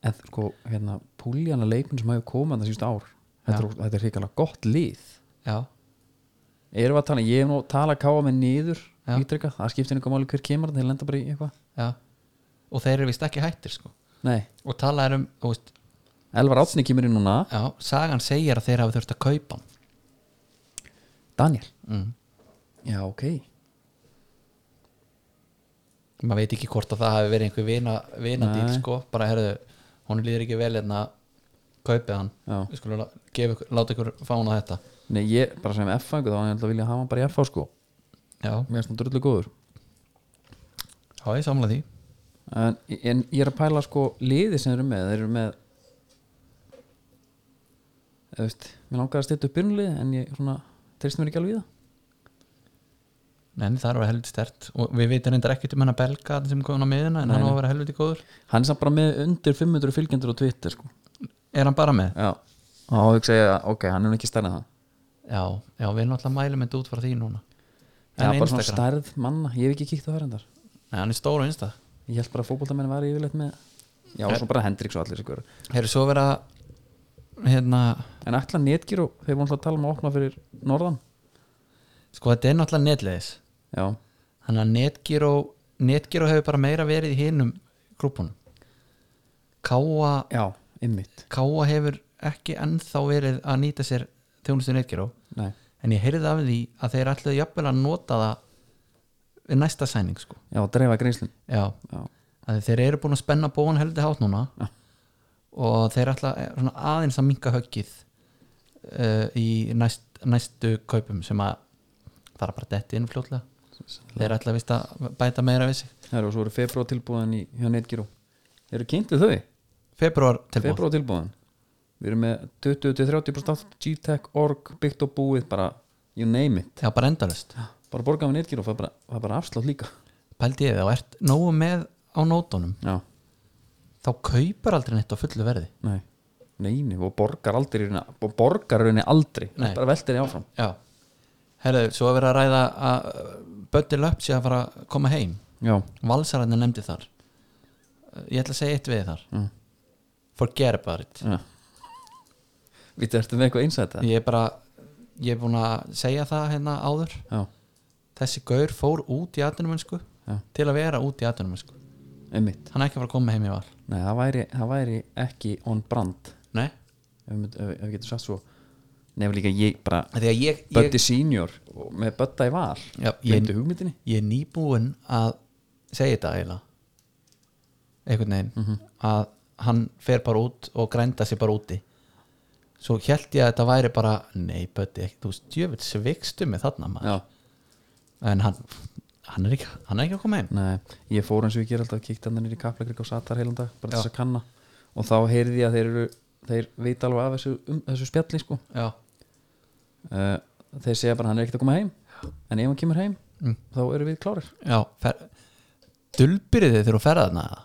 Speaker 1: en sko, hérna Púljana leikmenn sem hefur komað það síðust ár þetta
Speaker 2: Já.
Speaker 1: er, þetta er hrikalega gott lið
Speaker 2: já,
Speaker 1: Erum við að tala, ég hef nú talað káa með niður
Speaker 2: Já.
Speaker 1: ítrykka, það skiptir einhver máli hver kemur þeir lenda bara í eitthvað
Speaker 2: já og þeir eru vist ekki hættir sko.
Speaker 1: Nei,
Speaker 2: og talað er um þú veist,
Speaker 1: Elvar Átni kemur inn núna
Speaker 2: já, sagan segir að þeir hafa þurft að kaupa hann
Speaker 1: Daniel
Speaker 2: mm.
Speaker 1: Já, ok
Speaker 2: maður veit ekki hvort að það hafi verið einhver vina, vina
Speaker 1: Nei.
Speaker 2: dýl sko, bara herðu hún líður ekki vel hérna kaupið hann,
Speaker 1: Já.
Speaker 2: við skulum lá- gefa ykkur, láta ykkur fána þetta
Speaker 1: Nei, ég bara sem F-fængu þá hann ég held að vilja hafa hann bara í F-fá sko
Speaker 2: já,
Speaker 1: Mér er svona drullu góður
Speaker 2: já ég samla því
Speaker 1: en, en ég er að pæla sko liði sem þeir eru með þeir eru með eða veist, mér langar að stetta upp byrnlið en ég svona, treyst mér ekki alveg í það
Speaker 2: en það er að vera helviti stert og við veitum reyndar ekkert um hennar belga sem kom á miðuna en
Speaker 1: Nei,
Speaker 2: hann á
Speaker 1: nei.
Speaker 2: að vera helviti góður
Speaker 1: hann er samt bara með undir 500 fylgjendur á Twitter sko
Speaker 2: er hann bara með?
Speaker 1: já, og þá hugsa ég að ok, hann er nú ekki stærna það
Speaker 2: já, já við erum alltaf mælum þetta út frá því núna
Speaker 1: já,
Speaker 2: en
Speaker 1: bara svona
Speaker 2: Instagram,
Speaker 1: stærð manna, ég hef ekki kíkt á það reyndar
Speaker 2: nei, hann er stór á Insta
Speaker 1: ég held bara að fótboltamenn var yfirleitt með já, og svo bara Hendrix og allir sigur
Speaker 2: hefur svo vera hérna,
Speaker 1: en ætla netgir og þeir voru alltaf að tala um að opna fyrir norðan
Speaker 2: sko þetta er náttúrulega netleðis
Speaker 1: já,
Speaker 2: þannig að Netgyro Netgyro hefur bara meira verið í hinum grúpunum Káa,
Speaker 1: já, ymmit
Speaker 2: Káa hefur ekki ennþá verið að nýta sér þjónustu Netgyro
Speaker 1: nei,
Speaker 2: en ég heyrði af því að þeir ætlaðu jafnvel að nota það við næsta sæning sko
Speaker 1: já, dreifa greinslun
Speaker 2: já,
Speaker 1: já,
Speaker 2: að þeir eru búin að spenna bóan heldur hátt núna og þeir ætla svona aðeins að minka höggið uh, í næst, næstu kaupum sem að fara bara detti inn fljótlega þeir ætla vist að bæta meira við sig
Speaker 1: Herra, og svo eru februar tilbúðan í, hjá Netgyro eru kynntið þau?
Speaker 2: februar tilbúð
Speaker 1: februar tilbúðan við erum með 20-30% afslátt, G-Tech, Org, byggt og búið bara, you name it
Speaker 2: já bara endalust
Speaker 1: bara borgað við Netgyro, það er bara, það er bara afslátt líka
Speaker 2: pældi ég þá ert nógu með á nótunum
Speaker 1: já,
Speaker 2: þá kaupar aldrei neitt á fullu verði
Speaker 1: nei neini, og borgar aldrei í rauninni- og borgar rauninni aldrei,
Speaker 2: Nei.
Speaker 1: bara veltir því áfram
Speaker 2: já herðu svo er verið að ræða að uh, Bötti Löpsi að fara að koma heim
Speaker 1: já,
Speaker 2: Valsararnir nefndi þar Uh, ég ætla að segja eitt við þar
Speaker 1: Mm.
Speaker 2: forget about it
Speaker 1: já Vittu, ertu með eitthvað einsætt það?
Speaker 2: ég er bara ég er búin að segja það hérna áður
Speaker 1: Já,
Speaker 2: þessi gaur fór út í atvinnumönsku
Speaker 1: Já.
Speaker 2: til að vera út í atvinnumönsku
Speaker 1: einmitt
Speaker 2: hann er ekki að fara að koma heim í val
Speaker 1: Nei, það væri, það væri ekki on brand
Speaker 2: nei
Speaker 1: ef við mynd- ef- ef við getum sagt svo nefnir líka ég bara
Speaker 2: því að ég, ég,
Speaker 1: Böddi senior og með Bödda í val
Speaker 2: já, ég,
Speaker 1: Gleymdu hugmyndinni
Speaker 2: ég er nýbúinn að segja þetta eiginlega einhvern veginn
Speaker 1: Mhm.
Speaker 2: að hann fer bara út og grænda sér bara úti svo held ég að þetta væri bara nei Bötti, ekki, þú stjöfitt sveikstu með þarna maður
Speaker 1: Já,
Speaker 2: en hann, hann, er ekki, hann er ekki að koma heim
Speaker 1: nei, ég fór eins og ég ger alltaf kíkti hann nýri kaplakrik og satar heilan dag bara til þess að kanna og þá heyrði ég að þeir eru þeir veit alveg af þessu, um, þessu spjalli sko.
Speaker 2: já,
Speaker 1: uh, þeir segja bara hann er ekkert að koma heim en ef hann kemur heim
Speaker 2: Mm.
Speaker 1: þá eru við klárir
Speaker 2: já fer, dulbyrði þið þegar þú ferða þarna eða?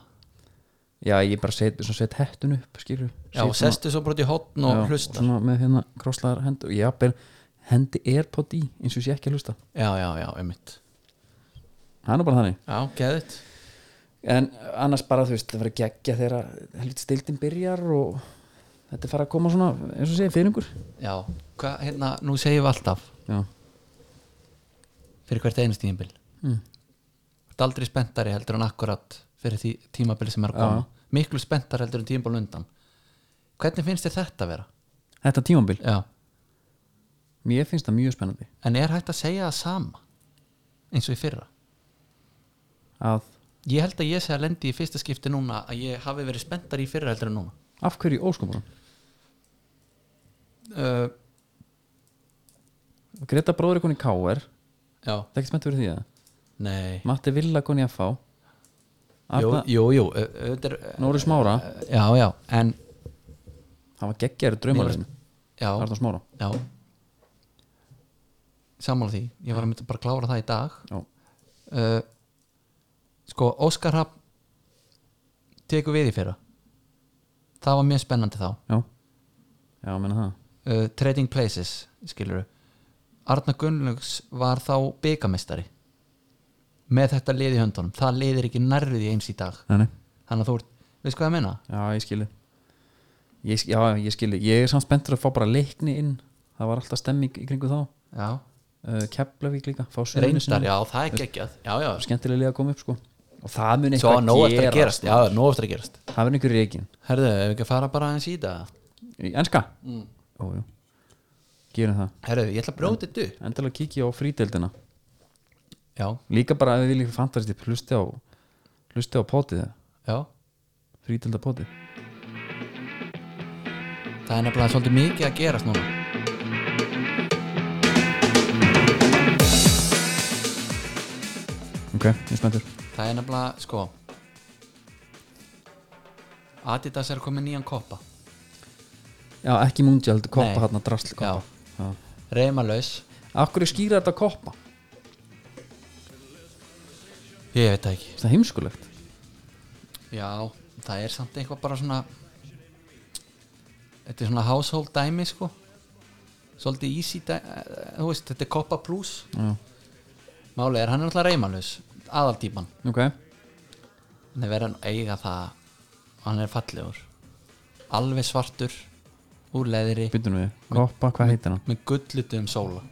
Speaker 1: Já, ég bara set, svona set hettun upp skilur,
Speaker 2: já, og sestu svo bara út í hotn og hlusta
Speaker 1: svona með hérna krosslaðar hendur já, ber, hendi airpod í eins og sé ekki að hlusta
Speaker 2: já, já, já, einmitt
Speaker 1: hann er bara þannig
Speaker 2: já, geðið
Speaker 1: en annars bara þú veist það verður geggja þegar helvit stildin byrjar og þetta er fara að koma svona eins og segja fyrringur
Speaker 2: já, hvað, hérna, nú segjum við alltaf
Speaker 1: já,
Speaker 2: fyrir hvert einst tímabil
Speaker 1: Mm.
Speaker 2: Þetta er aldrei spenntari heldur en akkurat fyrir því tímabili sem er að
Speaker 1: Já.
Speaker 2: koma miklu spenntari heldur en tímabil undan hvernig finnst þér þetta vera?
Speaker 1: þetta tímambil
Speaker 2: Já.
Speaker 1: mér finnst það mjög spennandi
Speaker 2: en er hægt að segja það sama eins og í fyrra?
Speaker 1: að
Speaker 2: Ég held að ég sé að lendi í fyrsta skipti núna að ég hafi verið spenntari í fyrra heldur en núna
Speaker 1: af hverju óskomunum
Speaker 2: uh,
Speaker 1: Greta bróður er koni K.R. það
Speaker 2: Já,
Speaker 1: er ekki spennt fyrir því að
Speaker 2: nei
Speaker 1: Matti Villa koni F.A.
Speaker 2: Jú,
Speaker 1: Arna
Speaker 2: jú, jú ö- auðvitað er-
Speaker 1: Nóri Smára
Speaker 2: Já, já, en
Speaker 1: hann var geggjaður draumarinn
Speaker 2: já,
Speaker 1: Arna Smára
Speaker 2: já Sammála því, ég var að mynda bara að klára það í dag
Speaker 1: já,
Speaker 2: uh, sko Óskar Hafn tekur við í fyrra það var mjög spennandi þá
Speaker 1: já, já, menna það
Speaker 2: uh, Trading Places skilur Arna Gunnlaugs var þá byggamistari með þetta lið í höndunum það liðir ekki nærrið í eins í dag
Speaker 1: Nei, nei.
Speaker 2: þannig að þú ert, veist hvað ég meina?
Speaker 1: Já, ég skilji ég, sk- Já, ég skilji, ég er samt spenntur að fá bara leikni inn, það var alltaf stemming í kringu þá,
Speaker 2: Já,
Speaker 1: uh, Keflavík líka fá
Speaker 2: reyndar, já, það er geggjað já, já,
Speaker 1: skemmtilega að koma upp sko og það mun
Speaker 2: svo nóg
Speaker 1: eitthvað
Speaker 2: eftir að gerast já,
Speaker 1: sko.
Speaker 2: nóg eftir að gerast
Speaker 1: það mun einhver reikin
Speaker 2: herðu, ef við ekki að fara bara aðeins í það
Speaker 1: í enska,
Speaker 2: Mm.
Speaker 1: ójú gerum það,
Speaker 2: herðu, ég ætla að bróti þetta upp
Speaker 1: endilega kíkja á frídeldina
Speaker 2: já, já,
Speaker 1: líka bara ef við viljum fantast hlusti á hlusti á potið frídelda potið
Speaker 2: það er nefnilega svolítið mikið að gerast núna
Speaker 1: ok, ég er spenntur
Speaker 2: Það er nefnilega, sko Adidas er komið nýjan koppa
Speaker 1: já, ekki múndi heldur
Speaker 2: Nei.
Speaker 1: koppa hann að drasli koppa Já.
Speaker 2: reymalaus
Speaker 1: Akkur er skýra þetta koppa,
Speaker 2: Ég veit það ekki
Speaker 1: það er heimskulegt
Speaker 2: Já, það er samt eitthvað bara svona Þetta er svona household dæmi, sko Svolítið easy dæmi Þú veist, þetta er koppa plus
Speaker 1: Já.
Speaker 2: Málið er, hann er náttúrulega reymalaus Aðaldýpan
Speaker 1: ok,
Speaker 2: Hann er verið að eiga það Hann er fallegur Alveg svartur Úr leðri
Speaker 1: Býtum við, koppa, hvað heitir hann?
Speaker 2: með gullutu um sóla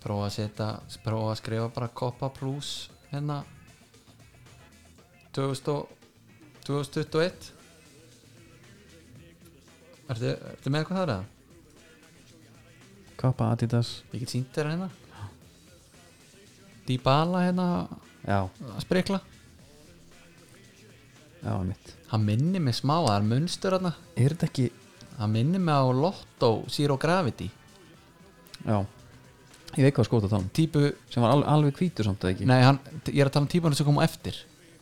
Speaker 2: prófa að setja prófa að skrifa bara koppa plus hérna 2000 og- 2021 Ertu, ertu með eitthvað þar eða?
Speaker 1: Koppa, Adidas
Speaker 2: Ég get sýnt þér hérna Dybala hérna
Speaker 1: Já,
Speaker 2: að sprikla
Speaker 1: já, mitt
Speaker 2: Hann minnir mig smá, það er munstur hérna
Speaker 1: Er þetta ekki,
Speaker 2: Hann minnir mig á Lotto Zero Gravity
Speaker 1: já ég veit hvað skóta tala um
Speaker 2: típu,
Speaker 1: sem var alveg, alveg hvítur samt eða ekki
Speaker 2: nei hann, ég er að tala um típunum sem kom á eftir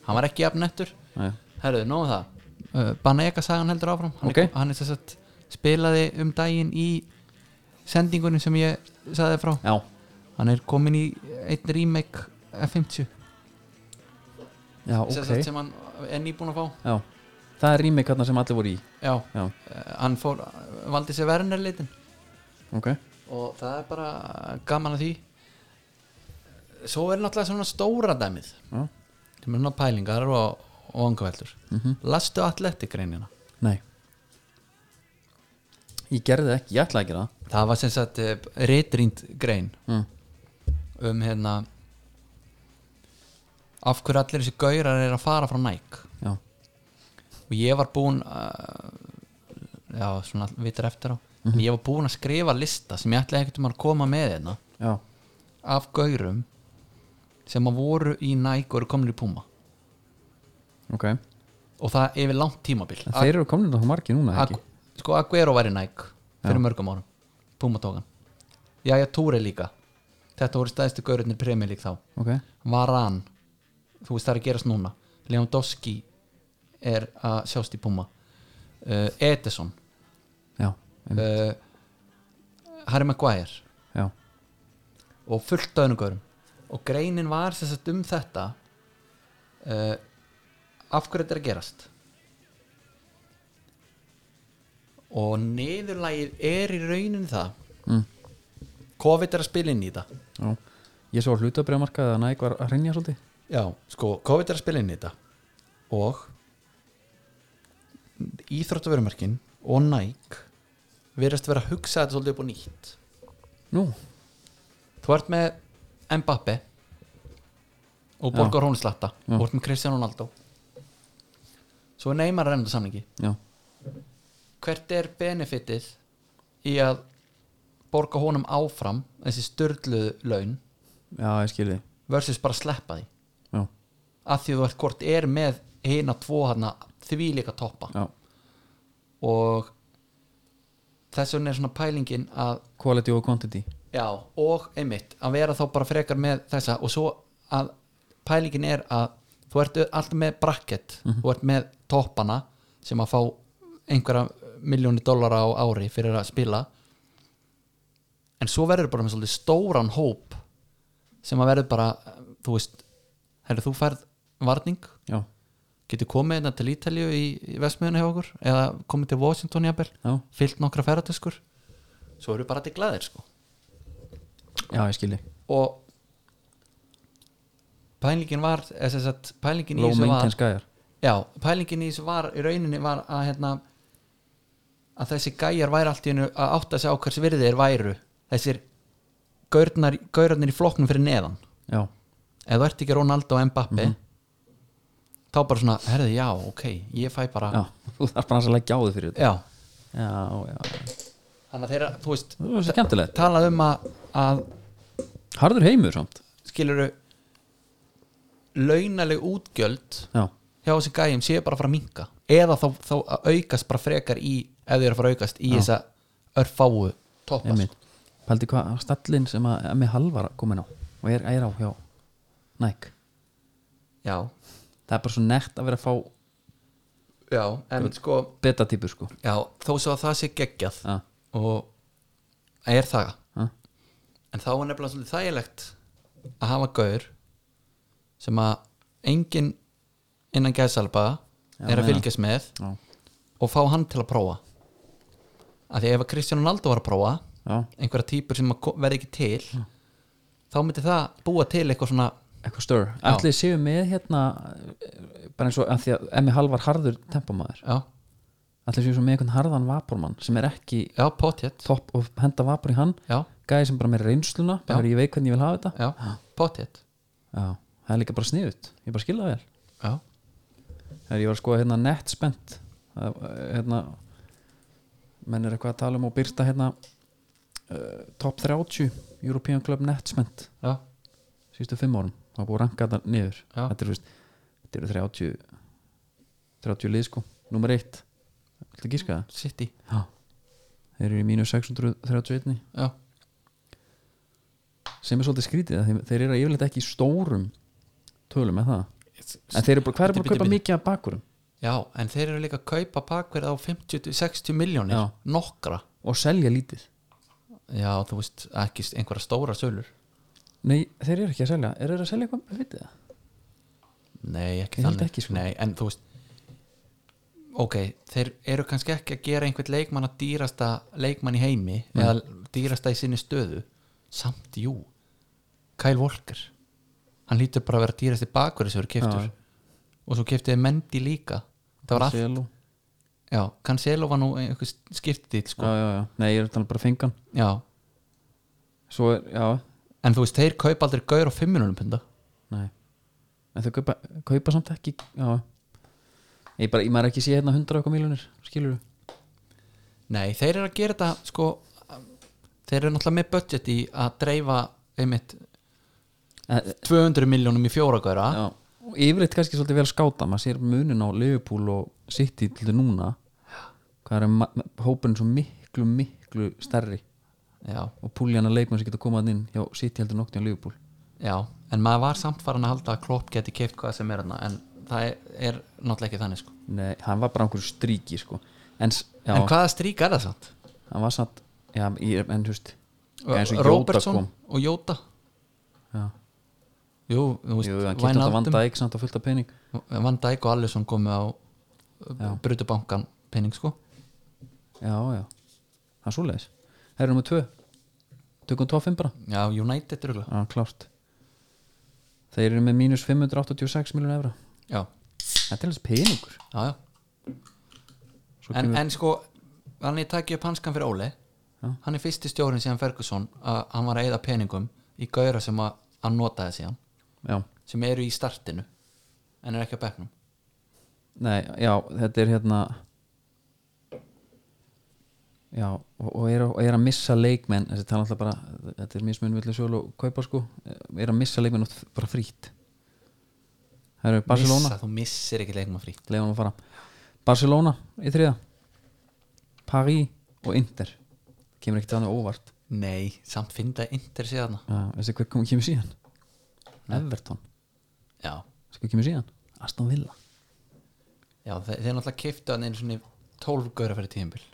Speaker 2: hann var ekki jafn nettur
Speaker 1: Nei.
Speaker 2: herruðu, nóg um það uh, Banega sagan heldur áfram hann,
Speaker 1: Ok.
Speaker 2: er, hann er þess að spilaði um daginn í sendingunum sem ég sagði frá
Speaker 1: já,
Speaker 2: hann er komin í einn remake F50
Speaker 1: já,
Speaker 2: sem, sagt
Speaker 1: ok
Speaker 2: sem hann er nýbúin að fá
Speaker 1: já. það er rýmik hérna sem allir voru í
Speaker 2: já,
Speaker 1: já,
Speaker 2: eh, hann fór, valdi sér Werner litin
Speaker 1: ok
Speaker 2: og það er bara gaman að því svo er náttúrulega svona stóra dæmið
Speaker 1: já.
Speaker 2: sem er svona pælingar og, og angaveldur
Speaker 1: Mhm.
Speaker 2: lastu atletik reynina
Speaker 1: nei ég gerði það ekki, ég ætlaði að gera það
Speaker 2: það var sem sagt reytrýnd grein
Speaker 1: mm.
Speaker 2: um hérna af hverju allir þessi gaurar er að fara frá Nike
Speaker 1: já,
Speaker 2: og ég var búinn uh, já, svona vitur eftir á en ég var búinn að skrifa lista sem ég ætlaði ekkert um að koma með hérna
Speaker 1: já,
Speaker 2: af gaurum sem að voru í Nike og eru komin í Puma
Speaker 1: ok
Speaker 2: og það yfir langt tímabil
Speaker 1: en þeir eru komin þá margir núna
Speaker 2: Ag
Speaker 1: ekki
Speaker 2: sko Aguero var í Nike fyrir mörgum árum, Puma tókan Jæja Túri líka þetta voru stæðstu gaururnir premjör lík þá
Speaker 1: ok,
Speaker 2: Varan þú veist það er að gerast núna Lewandowski er að sjást í Puma uh, Edison
Speaker 1: já, em,
Speaker 2: uh, Harry Maguire
Speaker 1: já
Speaker 2: og fullt öðnugörum og greinin var sem sagt um þetta uh, af hverju þetta er að gerast og niðurlægið er í raunin það
Speaker 1: mm.
Speaker 2: COVID er að spila inn í þetta
Speaker 1: já ég svo hlutabriðamarkaði að næg var að hreinja svolítið
Speaker 2: já, sko, COVID er að spila inn í þetta og íþróttaverumarkin og Nike verðast vera að hugsa þetta svolítið upp og nýtt
Speaker 1: nú,
Speaker 2: þú ert með Mbappe og Borgar Hónslatta
Speaker 1: Já.
Speaker 2: og ert með Cristiano Ronaldo svo er Neymar að reynda samningi
Speaker 1: já,
Speaker 2: hvert er benefitið í að borga honum áfram þessi störluðu laun
Speaker 1: já, ég skil þig
Speaker 2: versus bara sleppa því
Speaker 1: já,
Speaker 2: að því þú ert hvort er með hina tvo hana því líka toppa
Speaker 1: já,
Speaker 2: og þess vegna er svona pælingin að
Speaker 1: quality og quantity
Speaker 2: Já, og einmitt að vera þá bara frekar með þessa og svo að pælingin er að þú ert alltaf með bracket þú ert með toppana sem að fá einhverja miljóni dollara á ári fyrir að spila en svo verður bara með svolítið stóran hóp sem að verður bara þú veist, herri þú færð varning,
Speaker 1: já,
Speaker 2: getur komið hérna til Ítalíu í, í vestmiðunni hjá okkur eða komið til Washington jafnvel
Speaker 1: já,
Speaker 2: fyllt nokkra ferratöskur svo eru bara til glæðir sko
Speaker 1: já, ég skil þig
Speaker 2: og pælingin var eða sem sagt, pælingin í
Speaker 1: low
Speaker 2: þessu var
Speaker 1: maintenance gæjar
Speaker 2: já, pælingin í þessu var í rauninni var að hérna að þessi gæjar væri allt í hennu að átta sig á hvers virði þeir væru þessir gaurnar, gaurarnir í flokknum fyrir neðan
Speaker 1: já,
Speaker 2: ef þú ert ekki Ronaldo og Mbappi
Speaker 1: Mhm.
Speaker 2: þá bara svona, herði já, ok ég fæ bara,
Speaker 1: já, <laughs> þú þarf bara að leggja á þig fyrir þetta
Speaker 2: já.
Speaker 1: já, já,
Speaker 2: þannig að þeirra, þú veist
Speaker 1: það var skemmtilegt
Speaker 2: talað um að, að
Speaker 1: harður heimur samt
Speaker 2: skiluru launaleg útgjöld
Speaker 1: já,
Speaker 2: hjá þessum gæjum séu bara að fara að minka eða þá, þá að aukast bara frekar í ef þau eru að fara að aukast í þessa örfáu toppa
Speaker 1: einmitt
Speaker 2: sko.
Speaker 1: pældi hvað stallin sem að með halvar komin á og er, er á hjá Nike
Speaker 2: já,
Speaker 1: það er bara svo nett að vera að fá
Speaker 2: já, en sko
Speaker 1: beta típur sko
Speaker 2: já, þó svo að það sé geggjað
Speaker 1: já,
Speaker 2: og er það
Speaker 1: já,
Speaker 2: en þá er nefnilega svolítið þægilegt að hafa gaur sem að engin innan gæðsalba
Speaker 1: Já,
Speaker 2: er að
Speaker 1: meina.
Speaker 2: fylgjast með
Speaker 1: já,
Speaker 2: og fá hann til að prófa af því ef að Kristján Ronaldo var að prófa
Speaker 1: já.
Speaker 2: einhverja típur sem að ko- verða ekki til þá myndi það búa til eitthvað svona
Speaker 1: eitthvað stör allir séu með hérna eh, bara eins og að því að Emmi Hall var harður tempamaður,
Speaker 2: já,
Speaker 1: allir séu svo með einhvern harðan vapormann sem er ekki
Speaker 2: já, potjett
Speaker 1: topp og henda vapor í hann
Speaker 2: já,
Speaker 1: gæði sem bara með reynsluna, bara ég veit hvernig ég vil hafa þetta
Speaker 2: já, potjett
Speaker 1: já, það er líka bara sniðut, ég bara skilða vel
Speaker 2: já,
Speaker 1: þegar ég var að skoða hérna netspent það, eh, hérna menn er eitthvað að tala um og byrta hérna uh, top 30 European Club netspent
Speaker 2: já,
Speaker 1: sístu fimm árum, það var búið að ranka þetta niður
Speaker 2: Já.
Speaker 1: þetta eru, veist, þetta eru 30 30 lið sko, nummer 1 ætla að gíska það?
Speaker 2: city
Speaker 1: Já þeir eru í mínus 631
Speaker 2: já,
Speaker 1: sem er svolítið skrítið þeir, þeir eru yfirleitt ekki í stórum tölum með það en þeir eru bara, hvað er bara að
Speaker 2: Bíddu,
Speaker 1: kaupa
Speaker 2: bíddu,
Speaker 1: mikið af bakkurum
Speaker 2: já, en þeir eru líka að kaupa pakverð á 50-60 miljónir,
Speaker 1: Já.
Speaker 2: nokkra
Speaker 1: og selja lítið
Speaker 2: já, þú veist, ekki s- einhverja stóra sölur
Speaker 1: nei, þeir eru ekki að selja, eru þeir að selja eitthvað vitið það?
Speaker 2: nei, ekki
Speaker 1: Ég held
Speaker 2: þannig
Speaker 1: ekki, sko.
Speaker 2: nei, en þú veist ok, þeir eru kannski ekki að gera einhvern leikmann að dýrasta leikmann í heimi
Speaker 1: Mm.
Speaker 2: eða dýrasta í sinni stöðu samt, jú Kyle Walker hann lítur bara að vera dýrasti bakverði sem eru keftur
Speaker 1: Já.
Speaker 2: og svo keftiði Mendy líka það var allt,
Speaker 1: Cancelo.
Speaker 2: já, Cancelo var nú einhver skiptið, sko,
Speaker 1: já, já, já, nei, ég er þannig bara að fenga hann
Speaker 2: já
Speaker 1: svo er, já,
Speaker 2: en þú veist, þeir kaupa aldrei gaur á 5 minúlum punda
Speaker 1: nei en þau kaupa, kaupa samt ekki já, ég bara, ég maður ekki sé hérna 100 eitthvað miljonir, skilur þú
Speaker 2: nei, þeir eru að gera þetta sko, þeir eru náttúrulega með budget í að dreifa einmitt 200 miljónum í fjóra gaura
Speaker 1: Já, og yfirleitt kannski svolítið vel skáta maður sér munin á Liverpool og City til núna hvað er ma- hópurinn svo miklu miklu stærri
Speaker 2: já,
Speaker 1: og púljana leikmann sem getur komað inn hjá City heldur noktið á Liverpool
Speaker 2: já, en maður var samt farin að halda að Klopp geti keift hvað sem er hana en það er, er náttúrulega ekki þannig sko.
Speaker 1: Nei, hann var bara á einhverju stríki sko. en, s- já,
Speaker 2: en hvaða strík er það samt?
Speaker 1: hann var satt já, ég, en þú veist eins og Jóta
Speaker 2: Robertson
Speaker 1: kom.
Speaker 2: og Jóta
Speaker 1: já,
Speaker 2: jú, þú
Speaker 1: jú, hann
Speaker 2: veist,
Speaker 1: kipta þetta
Speaker 2: Wijnaldum,
Speaker 1: vanda ekki samt á fullt af pening
Speaker 2: Van Dijk og Allison komu á brutubankan penning sko
Speaker 1: já, já, það er svoleiðis það eru nummer tvö tökum tóa fimm bara
Speaker 2: já, United rugla
Speaker 1: Já, klárt Þeir eru með mínus 586 miljónu evra
Speaker 2: já,
Speaker 1: Þetta er alveg peningur
Speaker 2: já, já
Speaker 1: Svo
Speaker 2: en,
Speaker 1: kemur-
Speaker 2: en sko, hann er takið upp hanskan fyrir Óli
Speaker 1: Já.
Speaker 2: hann er fyrsti stjórin síðan Ferguson að hann var að eyða peningum í gauðra sem að hann notaði síðan
Speaker 1: Já,
Speaker 2: sem eru í startinu en er ekki á bekknum
Speaker 1: nei, já, þetta er hérna Já, og, og, er, og er að missa leikmenn þessi tala alltaf bara, þetta er mismun vilja sjólu og kaupa sko, er að missa leikmenn oft bara frýtt Það eru Barcelona,
Speaker 2: Missa, þú missir ekki leikma frí
Speaker 1: leiðum að fara Barcelona í þriða Paris og Inter kemur ekkert þannig óvart
Speaker 2: nei, samt finna yndir síðan
Speaker 1: Já, þessi hver kom- kemur síðan Everton
Speaker 2: já,
Speaker 1: Þessi hver kemur síðan, Aston Villa
Speaker 2: já þe þeir náttúrulega kiftu hann einu svona 12 gauðra fyrir tíðumbil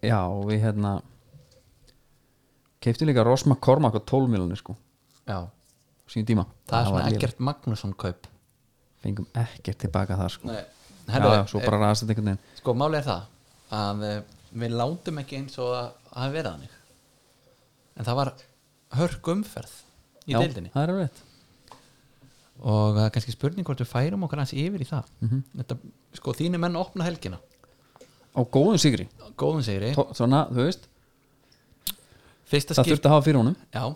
Speaker 1: Já, og við hérna keiftum líka Rosma Kormak á 12 miljonir sko,
Speaker 2: já,
Speaker 1: á sínum tíma
Speaker 2: það er
Speaker 1: var
Speaker 2: svona
Speaker 1: lélegt.
Speaker 2: Eggert Magnússon kaup
Speaker 1: Fengum ekkert tilbaka það sko
Speaker 2: nei,
Speaker 1: Já,
Speaker 2: herðu,
Speaker 1: já, svo bara ræðast þetta einhvern veginn
Speaker 2: Sko, máli er það að eh, við látum ekki eins og að að hafi verið hannig en það var hörk umferð í
Speaker 1: Já,
Speaker 2: deildinni
Speaker 1: það er alveg
Speaker 2: og það er kannski spurning hvort við færum okkur hans yfir í það
Speaker 1: Mhm.
Speaker 2: Þetta, sko, þínu menn opna helgina
Speaker 1: Á góðum sigri,
Speaker 2: góðum segri,
Speaker 1: Tó, svona, þú veist
Speaker 2: fyrsta
Speaker 1: Það
Speaker 2: skip
Speaker 1: þurfti að hafa fyrir honum
Speaker 2: já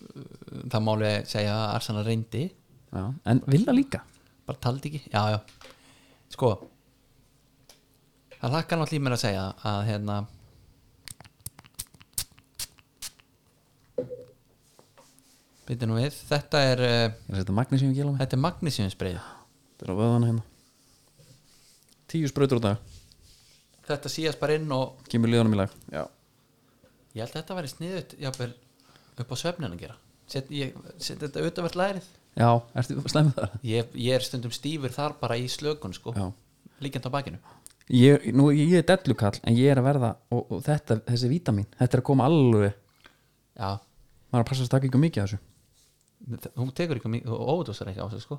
Speaker 2: Uh, það máli segja að Arsana reyndi
Speaker 1: já. En vilja líka
Speaker 2: bara taldi ekki, já, já sko það lakkar náttúrulega í mér að segja að hérna byrja nú við, þetta er uh,
Speaker 1: Ég er að setja magnísíum kílum
Speaker 2: þetta er magnísjumsbreið
Speaker 1: Þetta er á vöðana hérna Tíu sprautur á dag,
Speaker 2: þetta síðast bara inn og
Speaker 1: kemur liðanum í lag Já,
Speaker 2: ég held að þetta væri sniðut jáfnvel upp á svefnin að gera set, ég, set þetta utanvert lærið
Speaker 1: já ertu slæmið það?
Speaker 2: ég, ég er stundum stífur þar bara í slökun sko,
Speaker 1: Já
Speaker 2: líkjant á bakinu
Speaker 1: Ég, nú, ég er dellukall, en ég er að verða og, og þetta, þessi vítamin, þetta er að koma alveg
Speaker 2: já,
Speaker 1: maður er að passa að taka ekki of mikið af þessu
Speaker 2: þ- hún tekur ekki mikið og ódúsar ekki á sig sko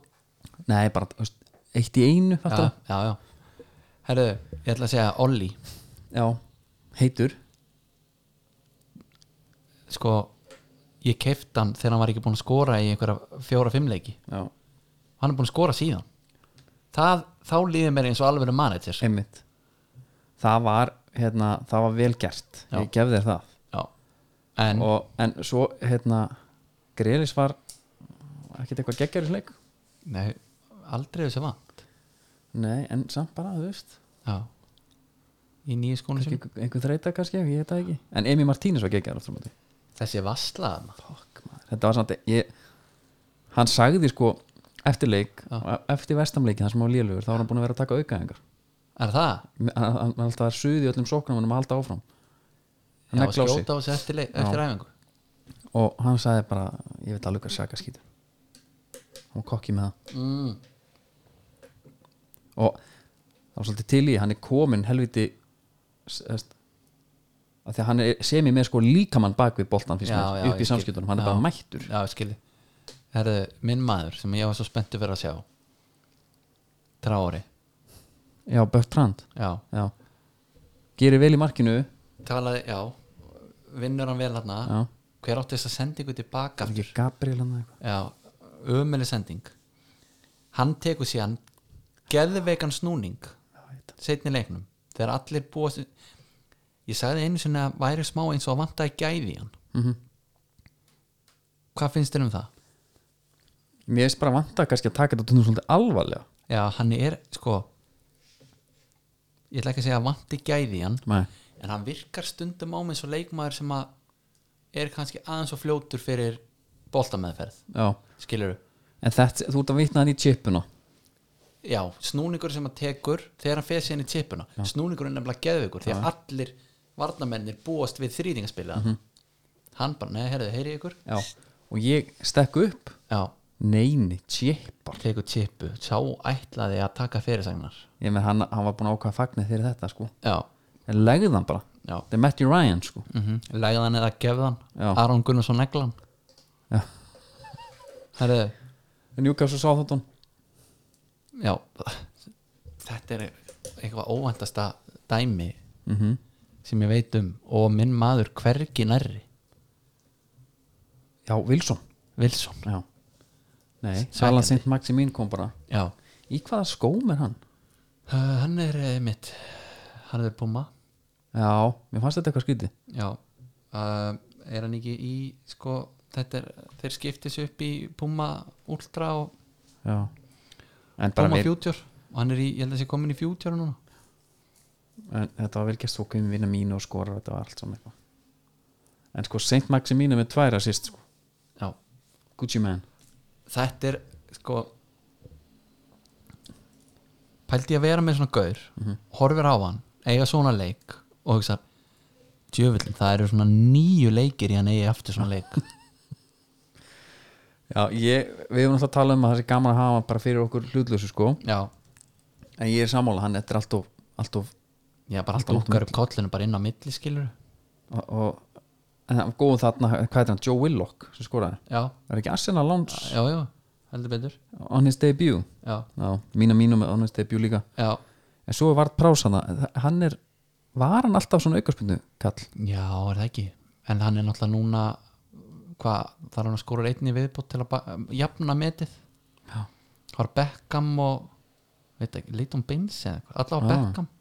Speaker 1: Nei, bara þú veist, eitt í einu
Speaker 2: já,
Speaker 1: fattar
Speaker 2: já, já Herru, ég ætla að segja Olli
Speaker 1: já. heitur
Speaker 2: sko, ég kefti hann þegar hann var ekki búin að skora í einhverja fjóra-fimm leiki
Speaker 1: já.
Speaker 2: hann er búin að skora síðan það, þá líður mér eins og alveg manager já,
Speaker 1: einmitt það var, hérna, það var vel gert
Speaker 2: Já.
Speaker 1: ég gef þér það
Speaker 2: en
Speaker 1: og, en svo, hérna Grelis var ekkert eitthvað geggjarisleik
Speaker 2: nei, aldrei þessu vant
Speaker 1: nei, en samt bara, þú veist
Speaker 2: já í nýju skónu sem
Speaker 1: einhver, einhver þreita kannski, ég veit það ekki en Emi Martínez var geggjar aftur á móti
Speaker 2: þessi vaslaðan
Speaker 1: Fuck, maður. þetta var samt, ég hann sagði sko, eftir leik
Speaker 2: Já.
Speaker 1: eftir vestamleikin, það sem var lélugur þá var hann búin að vera að taka aukaðingar
Speaker 2: er það?
Speaker 1: hann hann- hann alltaf er suði öllum sóknum hann um að halda áfram
Speaker 2: já,
Speaker 1: hann negla á sig
Speaker 2: skjóta á sig eftir, leik- eftir æfingu
Speaker 1: og hann sagði bara ég veit alveg hvað saka skýtur hann var kokki með það
Speaker 2: mm.
Speaker 1: og það var svolítið til í hann er komin helviti sest, að því að hann er semi með sko líkamann bak við boltan fyrst
Speaker 2: Já, já,
Speaker 1: upp
Speaker 2: ég
Speaker 1: í
Speaker 2: skil.
Speaker 1: samskiptunum, hann er
Speaker 2: Já.
Speaker 1: bara mættur
Speaker 2: Já, ég skilji Herðu, minn maður sem ég var svo spenntu fyrir að sjá Trári
Speaker 1: já, Bertrand
Speaker 2: Já,
Speaker 1: já. gerir vel í markinu
Speaker 2: talaði, já Vinnur hann vel hann
Speaker 1: já,
Speaker 2: Hver átti þess að senda ykkur tilbaka
Speaker 1: ekki Gabriel hann eða eitthvað
Speaker 2: Já, ömuleg sending Hann tekur síðan Geðveikan snúning
Speaker 1: Já, ég veit það.
Speaker 2: Seinni leiknum Þegar allir búa sig- Ég sagði einu sinni að væri smá eins og að vantaði gæði í hann
Speaker 1: Mhm.
Speaker 2: Hvað finnst þér um það?
Speaker 1: mér er bara vanta kannski að taka þetta tónum svolítið alvarlega
Speaker 2: Já, hann er sko Ég ætla ekki að segja að vanti gæði í hann
Speaker 1: Nei.
Speaker 2: En hann virkar stundum á mig svo leikmaður sem að er kannski aðeins og fljótur fyrir boltameðferð,
Speaker 1: já,
Speaker 2: skilurðu
Speaker 1: en þetta, þú ert að vitna hann í chipuna
Speaker 2: Já, snúningur sem hann tekur þegar hann fer sér inn í tippuna snúningur er nefnilega geðveikur því að allir varnamennir búast við þrýtingaspila
Speaker 1: Mhm.
Speaker 2: Hann bara, neða, herðu, heyri ykkur
Speaker 1: já, og ég stekk upp
Speaker 2: Já,
Speaker 1: neini, chip
Speaker 2: tekur tippu, sá ætlaði að taka fyrirsagnar
Speaker 1: ég með hann, hann var búin að ákvaða fagnir fyrir þetta sko
Speaker 2: Já,
Speaker 1: en legði hann bara,
Speaker 2: já
Speaker 1: þetta er Matthew Ryan sko
Speaker 2: mm Lægðan eða gefðan
Speaker 1: Já.
Speaker 2: Aron Gunnarsson neglan
Speaker 1: Já.
Speaker 2: Herðu,
Speaker 1: en Júkars og Sáþóttun
Speaker 2: já Þetta er eitthvað óvæntasta dæmi
Speaker 1: mm
Speaker 2: Mhm.
Speaker 1: -hmm.
Speaker 2: sem ég veit um og minn maður hvergi nærri
Speaker 1: já, Wilson
Speaker 2: Wilson
Speaker 1: já. nei,
Speaker 2: Sækjandi.
Speaker 1: Sala Sint Maximín kom bara
Speaker 2: Já,
Speaker 1: í hvaða skóm er hann?
Speaker 2: uh, hann er eh, mitt hann er Puma
Speaker 1: já, mér fannst þetta eitthvað skrítið
Speaker 2: Já, uh, er hann ekki í sko, þetta er, þeir skiptis upp í Puma Ultra og
Speaker 1: já en bara
Speaker 2: Puma
Speaker 1: við,
Speaker 2: Future og hann er í, ég held að sé komin í Future núna
Speaker 1: en, þetta var vel gæst þú kemur vinna mínu og skorar þetta var allt saman eitthvað en sko Sint Maximín er með tværa sýst sko
Speaker 2: Já,
Speaker 1: Gucci Man
Speaker 2: þetta er sko pældi ég að vera með svona gaur horfir á hann, eiga svona leik og hugsa djöfullin, það eru svona nýju leikir í hann eigi aftur svona leik
Speaker 1: já, ég, við erum alltaf að tala um að það sé gaman að hafa hann bara fyrir okkur hlutlösu sko
Speaker 2: já,
Speaker 1: en ég er sammála, hann þetta er allt of, allt of
Speaker 2: já bara
Speaker 1: Alltaf
Speaker 2: alltaf okkar upp kollinu bara inn á milli skilur
Speaker 1: og, og en hann var góður þarna, hvað er hann, Joe Willock sem skoraði,
Speaker 2: já,
Speaker 1: var ekki Arsenal Lons
Speaker 2: já, já, heldur betur
Speaker 1: on his debut,
Speaker 2: já,
Speaker 1: já, mína mínum on his debut líka,
Speaker 2: já,
Speaker 1: en svo var Prás hana, hann er, var hann alltaf svona aukarspundu kall,
Speaker 2: já, er það ekki en hann er náttúrulega núna hvað, þarf hann að skóra einni viðbútt til að ba- jafna metið
Speaker 1: Já.
Speaker 2: var Beckham og veit ekki, Leighton Baines eða eitthvað allavega
Speaker 1: Já.
Speaker 2: Beckham og hann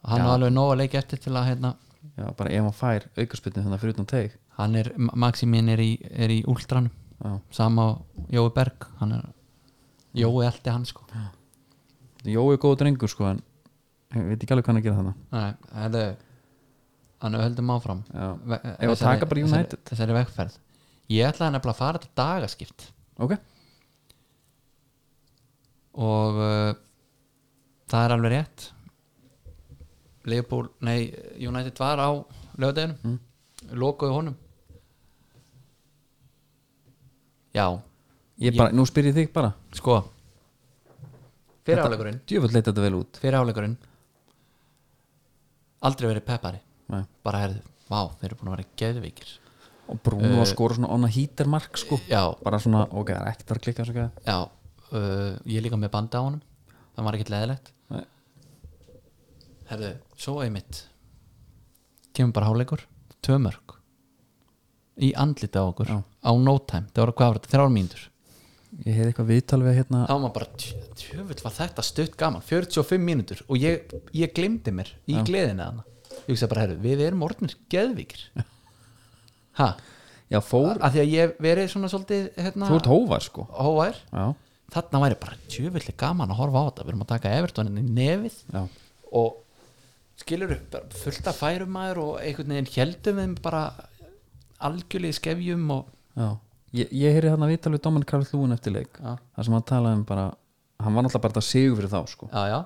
Speaker 1: Ah. Já.
Speaker 2: var alveg nóg að leika eftir til að hérna,
Speaker 1: já, bara ef hann fær aukarspundu þannig fyrir utan teig,
Speaker 2: hann er, Maximin er í, er í últranum
Speaker 1: já,
Speaker 2: sama á Jói Berg hann er, Jói eldi hann sko
Speaker 1: Jói er góður drengur sko, en ég veit ekki alveg hvað hann er að gera þarna
Speaker 2: Nei, hefðu, hann höldum áfram
Speaker 1: já,
Speaker 2: Ve-
Speaker 1: að
Speaker 2: þessari-
Speaker 1: taka bara
Speaker 2: þessari-
Speaker 1: United?
Speaker 2: þessari vegferð ég ætlaði nefnilega að fara þetta dagaskipt
Speaker 1: ok,
Speaker 2: og uh, það er alveg rétt Leopold, nei United var á lögadeginum
Speaker 1: Mm.
Speaker 2: lokuðu honum já,
Speaker 1: ég bara, nú spyr ég þig bara
Speaker 2: sko fyrir áleikurinn
Speaker 1: djöfull leit þetta vel út
Speaker 2: fyrir áleikurinn aldrei verið peppari
Speaker 1: Nei.
Speaker 2: bara herðu, vá, þeir eru búin að vera geðvikir
Speaker 1: og Bruno uh, skora svona onna hítermark sko
Speaker 2: já,
Speaker 1: bara svona, ok, það er ekkert að fara að klikka svo gæða
Speaker 2: já uh, ég er líka með banda á honum það var ekkert leðilegt
Speaker 1: Nei.
Speaker 2: herðu, svo einmitt kemur bara háleikur tvö mörg í andlita á okkur
Speaker 1: Já.
Speaker 2: á no time, það voru hvað var þetta, þrjár mínútur
Speaker 1: Ég hefði eitthvað viðtal við hérna
Speaker 2: þá var maður bara, "Djö- djöfull var þetta stutt gaman 45 mínútur og ég, ég glemdi mér í
Speaker 1: Já.
Speaker 2: gleðina þarna ég hugsa bara, herru, við erum orðnir geðvíkir ha,
Speaker 1: Já, fór,
Speaker 2: af því að ég hef verið svona svolítið hérna,
Speaker 1: þú ert hóvar sko
Speaker 2: hóvær
Speaker 1: Já,
Speaker 2: þarna væri bara djöfulli gaman að horfa á þetta við erum að taka Evertonin í nefið
Speaker 1: já,
Speaker 2: og skilur upp fullt af færum maður og einhvern veginn heldum þeim bara algjörlega í skefjum og
Speaker 1: já Ég, ég heyri hérna viðtal við Domin Karl Lúin eftir leik
Speaker 2: Já.
Speaker 1: þar sem hann talaði um bara hann var náttúrulega bara þetta sigur fyrir þá sko
Speaker 2: já, já,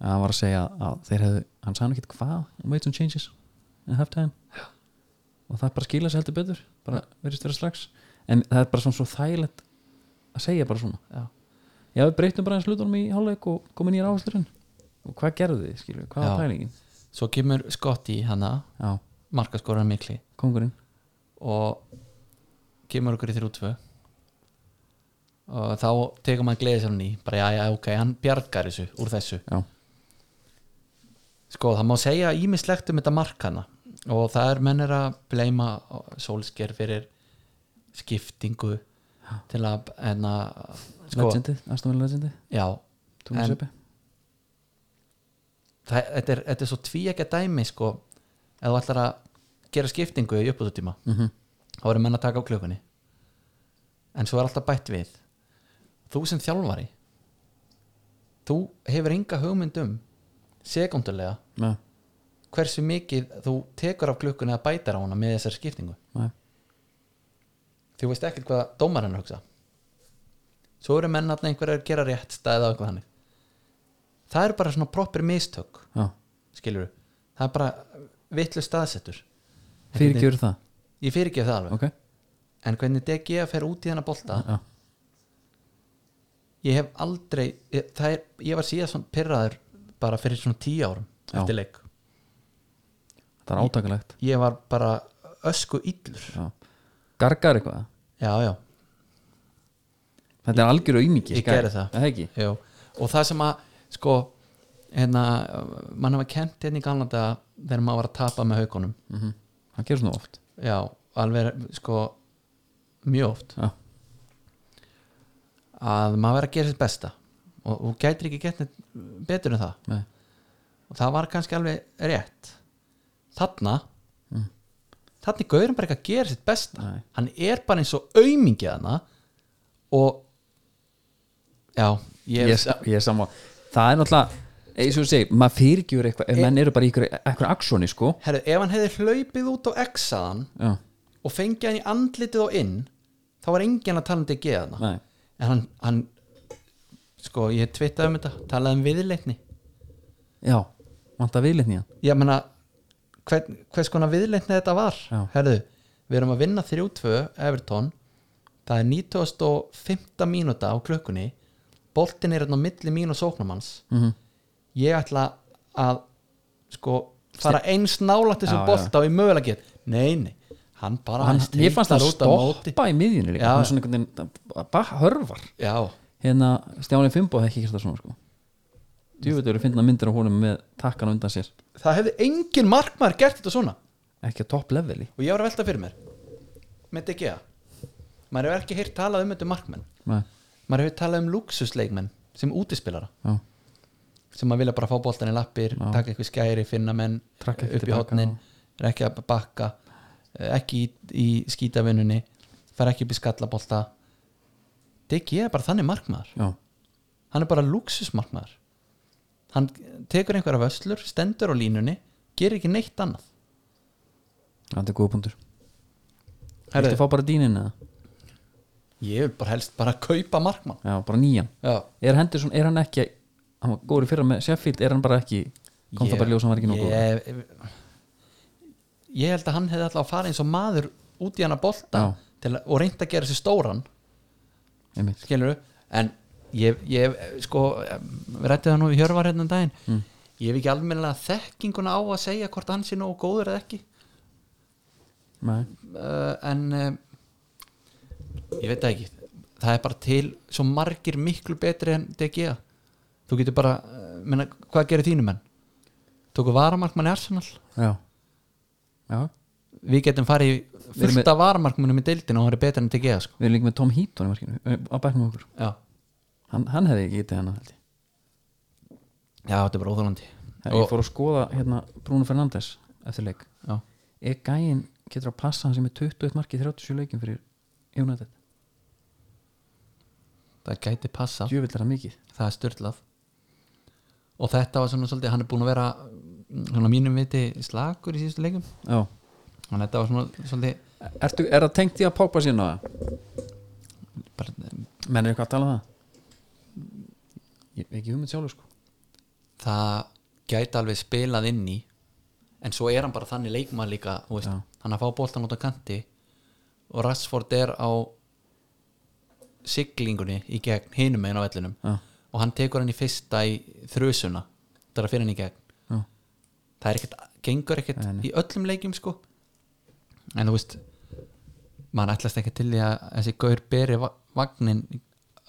Speaker 1: en hann var að segja að þeir hefðu, hann sagði nú ekkert hvað, I'm waiting changes in half time og það bara skila sér heldur betur bara verðist vera strax en það er bara svona svo þægilegt að segja bara svona
Speaker 2: Já.
Speaker 1: já við breytum bara eins hlutunum í hálfleik og komum nýjar áherslurinn og hvað gerðu þið skilur, við? hvað var
Speaker 2: Já.
Speaker 1: pælingin
Speaker 2: svo kemur Scotti hana
Speaker 1: já,
Speaker 2: markaskoran mikli
Speaker 1: kongurinn
Speaker 2: og kemur okkur í þrjú tvö og þá tekur maður gleðið sér hann í bara já já ok, hann bjargar þessu úr þessu
Speaker 1: já,
Speaker 2: sko það má segja ímislegt um þetta markana og það er mennir að bleima sólsker fyrir skiptingu til að en að sko,
Speaker 1: legendið, Aston Villa legendið
Speaker 2: já,
Speaker 1: Thomas
Speaker 2: En-
Speaker 1: Epe
Speaker 2: það, þetta, er, þetta er svo tví ekki að dæmi sko, ef þú ætlar að gera skiptingu í uppbúðutíma
Speaker 1: Mhm.
Speaker 2: þá eru menn að taka á klukkunni en svo er alltaf bætt við þú sem þjálfari þú hefur enga hugmynd um sekundulega
Speaker 1: Nei,
Speaker 2: hversu mikið þú tekur af klukkunni að bæta á hana með þessari skiptingu
Speaker 1: nei,
Speaker 2: þú veist ekkert hvað dómarinn er að hugsa svo eru menn að einhverjar gera rétt stæða og eitthvað hannig það eru bara svona proper mistök
Speaker 1: já,
Speaker 2: skilur það er bara vitlu staðsettur
Speaker 1: fyrirgjur það
Speaker 2: ég fyrirgef það alveg
Speaker 1: ok,
Speaker 2: en hvernig DG fer út í þennan bolta
Speaker 1: já,
Speaker 2: ég hef aldrei ég, það er, ég var síðan svona pyrraður bara fyrir svona tíu árum
Speaker 1: Já.
Speaker 2: eftir leik
Speaker 1: það er átakalegt
Speaker 2: ég var bara ösku illur
Speaker 1: já. gargar eitthvað
Speaker 2: já, já,
Speaker 1: þetta er algjör auðmiki
Speaker 2: ég gerði það.
Speaker 1: það ekki,
Speaker 2: já og það sem að sko hérna, mann hafa kent hérna í galanda þegar maður var að tapa með haukunum
Speaker 1: Mhm. það gerir svona oft
Speaker 2: já, alveg sko mjög oft
Speaker 1: já,
Speaker 2: að maður verið að gera sitt besta og, og gætir ekki gett neitt betur en það
Speaker 1: nei,
Speaker 2: og það var kannski alveg rétt þarna þarna er gauðurinn bara ekki að gera sitt besta
Speaker 1: Mm. Nei.
Speaker 2: hann er bara eins og aumingið hana og já, ég,
Speaker 1: ég, er sa- ég er samá það er náttúrulega, eins og þú segir maður fyrirgjur eitthvað, ef menn eru bara í einhverju- einhverju aksjóni sko,
Speaker 2: herru, ef hann hefði hlaupið út á exaðan
Speaker 1: já,
Speaker 2: og fengið hann í andlitið og inn þá var enginn að tala um DG hana
Speaker 1: nei
Speaker 2: en hann, hann sko, ég tvittaði um þetta, talaði um viðleitni
Speaker 1: já, vantar viðlitni hann
Speaker 2: ég meina hver, hvers konar viðleitni þetta var
Speaker 1: Já.
Speaker 2: herðu, við erum að vinna 3-2 Everton, það er 95. mínúta á klukkunni boltin er hérna á milli mín og sóknumanns
Speaker 1: Mhm.
Speaker 2: ég ætla að sko fara eins
Speaker 1: Já,
Speaker 2: nálægt þessum
Speaker 1: já.
Speaker 2: bolta og ég mögulega get nei, nei, hann bara
Speaker 1: hann,
Speaker 2: aðeins
Speaker 1: ég fannst það
Speaker 2: titlar út á móti.
Speaker 1: stoppa í miðjunni líka
Speaker 2: Já.
Speaker 1: hann svona einhvern veginn, bara hörfar
Speaker 2: já,
Speaker 1: hérna Stjáni Fimbo hefði ekki gert það svona sko djúvitur eru finna myndir á honum með takkan á undan sér
Speaker 2: það hefði engin markmaður gert þetta svona
Speaker 1: ekki á topp leveli
Speaker 2: og ég var að velta fyrir mér með DGA maður hefur ekki heyrt talað um þetta markmenn
Speaker 1: Nei,
Speaker 2: maður hefur talað um luxusleikmenn sem útispilara
Speaker 1: já,
Speaker 2: sem maður vilja bara fá boltan í lappir
Speaker 1: Já.
Speaker 2: taka eitthvað skæri, finna menn
Speaker 1: Trakka ekki
Speaker 2: upp í
Speaker 1: tilbaka
Speaker 2: hotnin, er ekki að bakka eh, ekki í, í skítavinnunni fara ekki upp í skallabolta Diggi er bara þannig markmaður
Speaker 1: já,
Speaker 2: hann er bara luxusmarkmaður hann tekur einhverja vöslur stendur á línunni, gerir ekki neitt annað
Speaker 1: þetta er góða punktur
Speaker 2: Herðu,
Speaker 1: Viltu fá bara dýnin eða?
Speaker 2: ég vil bara helst bara kaupa markmann
Speaker 1: Já, bara nýjan
Speaker 2: já,
Speaker 1: Er Henderson, er hann ekki hann var góður í fyrra með Sheffield, er hann bara ekki kom það
Speaker 2: Ég-
Speaker 1: bara í ljós að hann var ekki nógu góður
Speaker 2: ég, ég held að hann hefði alltaf að fara eins og maður út í hann að bolta
Speaker 1: Já.
Speaker 2: til, að- og reynt að gera sér stóran
Speaker 1: Einmitt.
Speaker 2: skilur en ég, ég sko við rættum það nú í hjörvar hérna um daginn
Speaker 1: Mm.
Speaker 2: ég hef ekki almennilega þekkinguna á að segja hvort hann sé nógu góður eða ekki
Speaker 1: Nei,
Speaker 2: uh, en uh, ég veit það ekki það er bara til svo margir miklu betri en DGA þú getur bara, uh, menna, hvað gerir þínu menn tóku varamarkmann í Arsenal
Speaker 1: Já Já,
Speaker 2: við getum farið í
Speaker 1: erum
Speaker 2: fullt af varamarkmunum í deildinu og hann er betur enn DG sko.
Speaker 1: við erum líka með Tom Heaton í markinu ö, á bæknum hjá okkur
Speaker 2: já.
Speaker 1: hann, hann hefði ekki getið hana held ég.
Speaker 2: já, þetta er bara óþólandi
Speaker 1: Ég fór að skoða hérna Bruno Fernandes eftir leik
Speaker 2: já.
Speaker 1: Er gæinn getur að passa hann sem er 21 marki í 37 leikin fyrir United
Speaker 2: það gæti passa,
Speaker 1: Djövill er það mikið
Speaker 2: það er styrlað og þetta var svona svolítið hann er búin að vera mm, svona mínum viti slagur í síðustu leikum
Speaker 1: Já
Speaker 2: þannig að þetta var svona svolítið
Speaker 1: Ertu, Er það tengt í að Pogba síðan á það?
Speaker 2: bara, mm,
Speaker 1: Menn er eitthvað að tala um það? Ég hef ekki hugmynd sjálfur sko
Speaker 2: það gæti alveg spilað inn í en svo er hann bara þannig leikmann líka þú veist, hann að fá boltan út á kanti og Rashford er á siglingunni í gegn hinum meginn á vellinum
Speaker 1: Já.
Speaker 2: og hann tekur hann í fyrsta í þrösuna það er að finna hann í gegn
Speaker 1: Já.
Speaker 2: það er ekkert, gengur ekkert
Speaker 1: Nei, nei.
Speaker 2: í öllum leikjum sko en þú veist maður ætlast ekki til því að þessi gaur beri va- vagnin í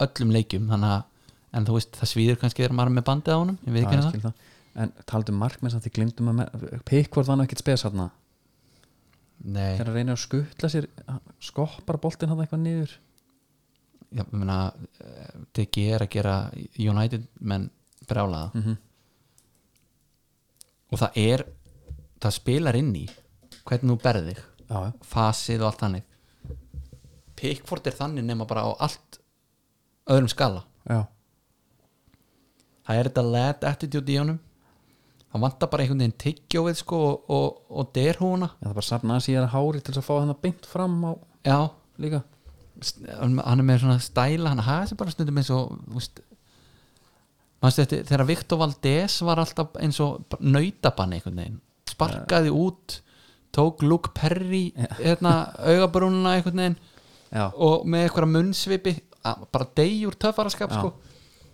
Speaker 2: öllum leikjum þannig að, en þú veist, það svíður kannski þegar maður er með bandið á honum, ég veit
Speaker 1: Já,
Speaker 2: ekki
Speaker 1: ég
Speaker 2: hérna
Speaker 1: skil það. en taldu markmenn samt því glimtum að pikkvörð hann ekkert spes hann
Speaker 2: það nei,
Speaker 1: þegar hann reynir að skutla sér hann skoppar boltinn hann eitthvað niður
Speaker 2: já, ég meina DG er að gera United menn brjálaða
Speaker 1: Mhm.
Speaker 2: og það er það spilar inn í hvernig þú berð þig
Speaker 1: já, já.
Speaker 2: fasið og allt þannig Pickford er þannig nema bara á allt öðrum skala
Speaker 1: já,
Speaker 2: það er þetta led attitude í honum hann vantar bara einhvern veginn tyggjóið sko og, og, og derhúna
Speaker 1: Já, það er bara safna að síðan hári til þess að fá hann beint fram á
Speaker 2: já,
Speaker 1: líka
Speaker 2: st- hann er með svona stæla hann hafa sér bara stundum eins og þú veist, manstu þetta, þegar Viktor Valdés var alltaf eins og nautabann einhvern veginn, sparkaði út tók Luke Perry hérna, augabrúnuna einhvern veginn
Speaker 1: já,
Speaker 2: og með eitthvað munnsvipi að- bara degjur töffaraskap
Speaker 1: Já.
Speaker 2: sko.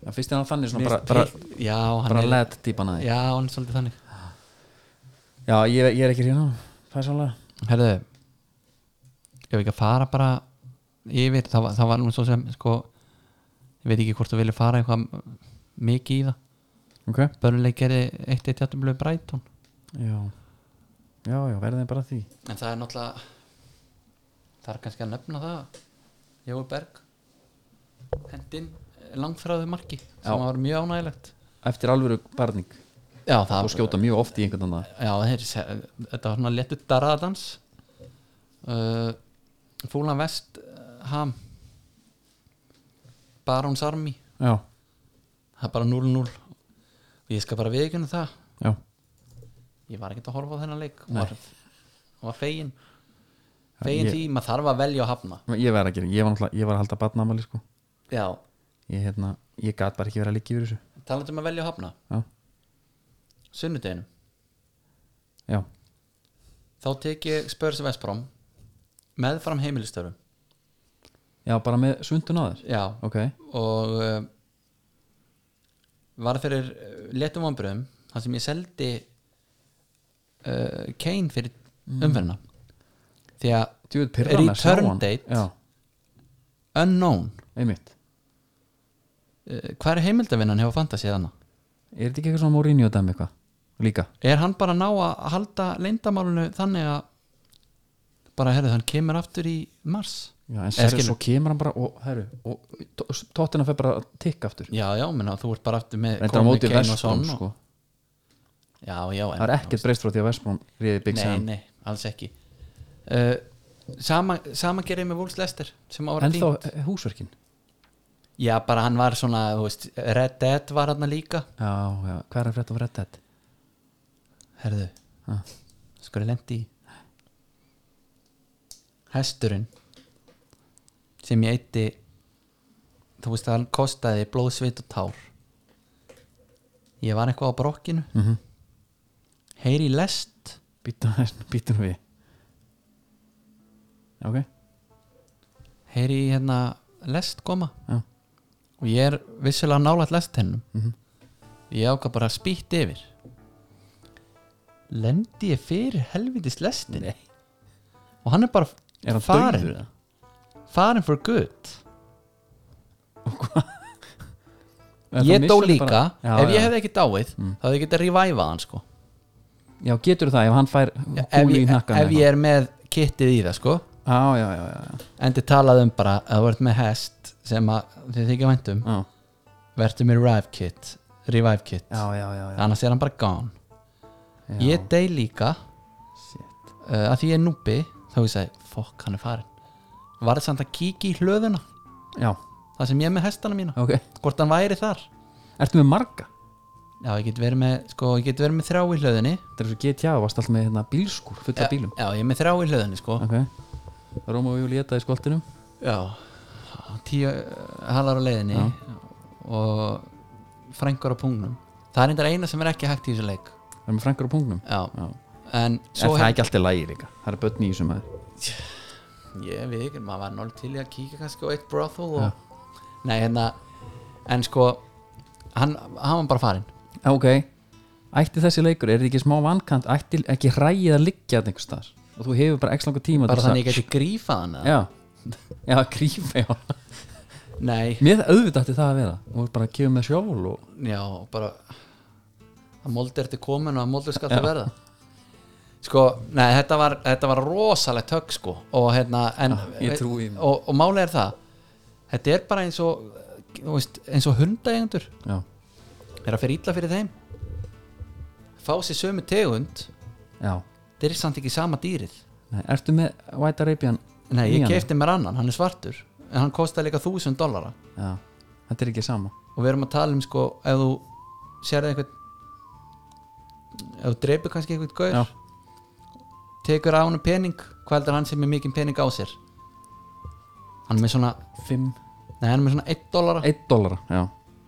Speaker 1: já fyrst er hann þannig svona bara,
Speaker 2: Mér
Speaker 1: bara,
Speaker 2: finnst Pick- já, hann
Speaker 1: bara
Speaker 2: er,
Speaker 1: led típan að því já,
Speaker 2: já, hann er svolítið þannig
Speaker 1: ég, ég er ekki hérna persónlega
Speaker 2: herðu ég veit ekki að fara bara yfir, það, var- það var nú svo sem sko, ég veit ekki hvort þú vilja fara eitthvað mikið í það
Speaker 1: ok,
Speaker 2: börnuleik gerði eitt eitt játtum blöð Brighton
Speaker 1: já já, já, verðið bara að því
Speaker 2: en það er náttúrulega það er kannski að nefna það Jói Berg hendinn langfræðu marki sem
Speaker 1: Já.
Speaker 2: var mjög ánægilegt
Speaker 1: eftir alvöru barning
Speaker 2: já, það
Speaker 1: og skjóta mjög oft í einhvern annan
Speaker 2: já, þeir, þetta var svona letur darraðadans uh, Fúlan Vest uh, Ham Barons Army
Speaker 1: já,
Speaker 2: það er bara 0-0 og ég skal bara viðkjöna það
Speaker 1: já,
Speaker 2: ég var ekkert að horfa á þennan leik og
Speaker 1: Nei.
Speaker 2: var, og var fegin fegin
Speaker 1: Ég-
Speaker 2: því, maður þarf að velja að hafna
Speaker 1: ég verð að gera ég var, náttúrulega- ég var að halda barnamali sko
Speaker 2: já,
Speaker 1: ég, hérna, ég gat bara ekki verið að líka yfir þessu
Speaker 2: talandi um að velja að hafna
Speaker 1: já,
Speaker 2: sunnudeginum,
Speaker 1: já,
Speaker 2: þá tek ég Spurs Vestbrom meðfram heimilistörum
Speaker 1: já bara með sundun á þér
Speaker 2: já,
Speaker 1: ok,
Speaker 2: og uh, var fyrir uh, letum vonbröðum þar sem ég seldi uh, Kane fyrir
Speaker 1: Mm.
Speaker 2: umferðina því að
Speaker 1: djúið pyrran að sjá
Speaker 2: Return
Speaker 1: hann.
Speaker 2: date.
Speaker 1: já,
Speaker 2: unknown
Speaker 1: einmitt
Speaker 2: uh, hvað er heimildavinnan hefur fantasy þannig
Speaker 1: er þetta ekki eitthvað svona Mourinho dæmi eitthvað líka,
Speaker 2: er hann bara að ná að halda leyndamálunu þannig að bara herðu hann kemur aftur í mars
Speaker 1: já, en
Speaker 2: Eða
Speaker 1: sér,
Speaker 2: skilur.
Speaker 1: svo kemur hann bara og, herru, og tóttina fer bara að tikka aftur
Speaker 2: já já, menna, þú ert bara aftur með
Speaker 1: reyndar á
Speaker 2: komið
Speaker 1: móti
Speaker 2: Kane og
Speaker 1: Vestbrón
Speaker 2: Son og-
Speaker 1: sko.
Speaker 2: já já, en-
Speaker 1: það er ekkert breyst frá því að Vestbrón riði Big
Speaker 2: nei,
Speaker 1: Sam
Speaker 2: nei, alls ekki uh, sama, sama gerði með Wolves Lester sem ára
Speaker 1: en
Speaker 2: fín
Speaker 1: þá húsverkin
Speaker 2: já, bara hann var svona, þú veist Red Dead var hann líka
Speaker 1: já, já, hvað er að frétta á Red Dead
Speaker 2: herðu,
Speaker 1: Ha.
Speaker 2: sko er lendi í hesturinn sem ég eitti þú veist, hann kostaði blóð, svit og tár ég var eitthvað á brokkinu
Speaker 1: mm -hmm.
Speaker 2: heyri í lest
Speaker 1: býtum við ok,
Speaker 2: heyri í hérna lest koma
Speaker 1: já,
Speaker 2: og ég er vissulega nálægt lest hennum
Speaker 1: Mhm.
Speaker 2: ég ákvað bara að spýtt yfir lendi ég fyrir helvitis lestin
Speaker 1: Nei.
Speaker 2: og hann er bara
Speaker 1: er hann
Speaker 2: farin
Speaker 1: dauður eða?
Speaker 2: farin for good
Speaker 1: En þá
Speaker 2: ég
Speaker 1: missir
Speaker 2: dó
Speaker 1: hann
Speaker 2: líka,
Speaker 1: bara- já,
Speaker 2: ef ég
Speaker 1: já. Mm.
Speaker 2: hefði ekki dáið þá hefði ég getið að reviva hann sko
Speaker 1: já, getur það ef hann fær
Speaker 2: ef
Speaker 1: húlu í
Speaker 2: ég,
Speaker 1: nakkan
Speaker 2: ef ég er með kittið í það sko
Speaker 1: já, já, já, já, já.
Speaker 2: endi talað um bara að þú ert með hest sem að þið þykja væntum
Speaker 1: já,
Speaker 2: verður með revive kit revive kit,
Speaker 1: já, já, já, já.
Speaker 2: annars er hann bara gone
Speaker 1: já.
Speaker 2: ég dey líka
Speaker 1: Shit.
Speaker 2: uh, að því ég er núbi þá ég segi, fokk, hann er farin var þetta samt að kíkja í hlöðuna
Speaker 1: já,
Speaker 2: það sem ég er með hestana mína,
Speaker 1: ok
Speaker 2: hvort hann væri þar
Speaker 1: ertu með marga?
Speaker 2: já, ég get verið með, sko, ég get verið með þrá í hlöðunni
Speaker 1: Þetta er svo GTA, varst alltaf með hérna, bílskur fulla
Speaker 2: já,
Speaker 1: af bílum
Speaker 2: já, ég er með þrá í hlöðunni, sko
Speaker 1: Ok Róma og Júlieta í skoltinum
Speaker 2: já, tíu uh, halar á leiðinni
Speaker 1: Já.
Speaker 2: og frængur á pungnum það er einnig eina sem er ekki hægt í þessu leik
Speaker 1: Það er með frængur á pungnum
Speaker 2: já,
Speaker 1: Já. en
Speaker 2: en svo
Speaker 1: það er ekki alltaf lægi líka það er börn í þessum maður
Speaker 2: ég veit ekki, maður var náttúrulega til í að kíka kannski á eitt brothel og nei, hérna, en sko hann, hann var bara farinn
Speaker 1: Já, Ah, ok, ætti þessi leikur er þið ekki smá vankant, ætti ekki rægið að liggja þetta einhvers staðar og þú hefur bara x langa tíma
Speaker 2: bara
Speaker 1: til
Speaker 2: þannig að ég geti grífað hann eða?
Speaker 1: já, <laughs> já, grífa já.
Speaker 2: nei,
Speaker 1: mér auðvitað ætti það að vera og þú ert bara að gefa með sjálf og
Speaker 2: já, bara að moldi ertu komin og að moldi skal það verða sko, nei, þetta var, þetta var rosalegt högg sko og hérna, en
Speaker 1: Já, Ah, ég trúi því.
Speaker 2: og, og máli er það þetta er bara eins og þú veist, eins og hundaegendur
Speaker 1: já,
Speaker 2: er að fyrir illa fyrir þeim fá sér sömu tegund
Speaker 1: já,
Speaker 2: þetta er samt ekki sama dýrið
Speaker 1: Nei, ertu með White Arabian
Speaker 2: nei, ég
Speaker 1: nýjan?
Speaker 2: keipti mér annan, hann er svartur en hann kostaði líka þúsund dollara
Speaker 1: já, þetta er ekki sama
Speaker 2: og við erum að tala um sko ef þú sérði einhvern ef þú dreipur kannski einhvern gaur
Speaker 1: já,
Speaker 2: tekur á hann pening, hvað heldur hann sem er mikinn pening á sér hann er með svona,
Speaker 1: 5,
Speaker 2: nei hann er með svona 1 dollara
Speaker 1: 1 dólar já,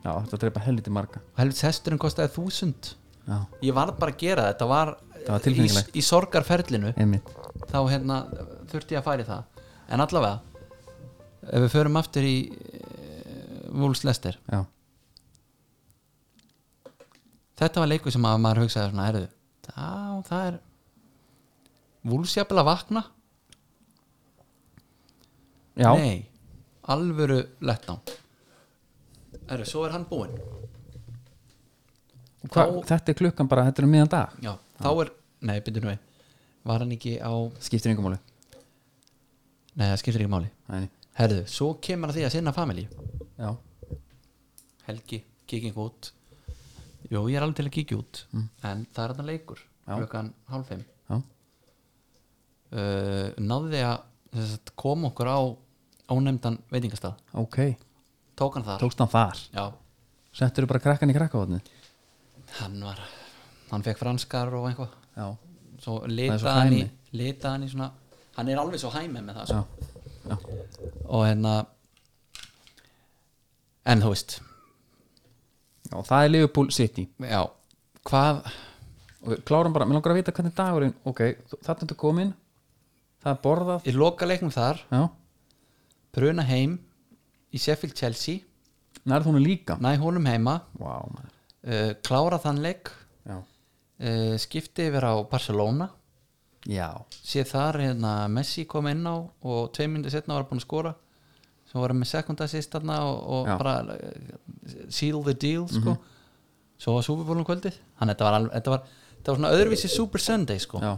Speaker 1: já, þetta er dreipa helviti marga
Speaker 2: og helvits hesturinn kostaði 1000
Speaker 1: já,
Speaker 2: ég varð bara að gera þetta, þetta
Speaker 1: var
Speaker 2: var í,
Speaker 1: tilfinningalegt.
Speaker 2: í sorgarferlinu
Speaker 1: einmitt
Speaker 2: þá hérna þurfti ég að færi það en allavega ef við förum aftur í uh, Wolves Lester
Speaker 1: já,
Speaker 2: þetta var leikur sem að maður hugsaði svona erðu þá það er Wolves jafnvel að vakna
Speaker 1: já,
Speaker 2: nei, alvöru letdown erðu, svo er hann búinn
Speaker 1: Hva,
Speaker 2: þá-
Speaker 1: þetta er klukkan bara, þetta er um miðan dag
Speaker 2: já, þá er, nei, byrju nú við var hann ekki á,
Speaker 1: skiptir yngum máli
Speaker 2: nei það skiptir ekki máli
Speaker 1: Nei,
Speaker 2: herðu, svo kemur að því að sinna familíu
Speaker 1: já,
Speaker 2: helgi, kíking út Jú, ég er alveg til að kíkja út en það er þarna leikur
Speaker 1: Mm. Já.
Speaker 2: klukkan hálf fimm
Speaker 1: já,
Speaker 2: uh, náði að sem sagt, koma okkur á ónefndan veitingastað
Speaker 1: ok
Speaker 2: tók hann þar
Speaker 1: tókst hann þar
Speaker 2: Já,
Speaker 1: Settur þú bara krakkan í krakkavotni?
Speaker 2: hann var hann fekk franskar og eitthvað
Speaker 1: Já.
Speaker 2: svo
Speaker 1: er svo
Speaker 2: litaði hann í
Speaker 1: hæmi.
Speaker 2: litaði hann í svona hann er alveg svo hæmi með það
Speaker 1: Já.
Speaker 2: sko. og hérna en þú veist
Speaker 1: Já, það er Liverpool City.
Speaker 2: já, hvað
Speaker 1: Og við klárum bara, mér langar að vita hvernig dagurinn, ok, þetta er komin, það er borðað.
Speaker 2: ég loka leiknum þar
Speaker 1: Já,
Speaker 2: bruna heim í Sheffield Chelsea
Speaker 1: nærð hún líka.
Speaker 2: næ honum heima
Speaker 1: Vá, wow, maður.
Speaker 2: uh, klára þann leik
Speaker 1: Já.
Speaker 2: uh, skipti yfir á Barcelona
Speaker 1: Já.
Speaker 2: sé þar hérna Messi kom inn á og tvei myndi setna var hann búinn að skora sem var hann með sekunda sýst þarna og, og
Speaker 1: Já. Mhm.
Speaker 2: bara uh, seal the deal sko svo var Superbólum kvöldið hann, þetta, var alveg, þetta, var, þetta var svona öðruvísi Super Sunday sko
Speaker 1: Já,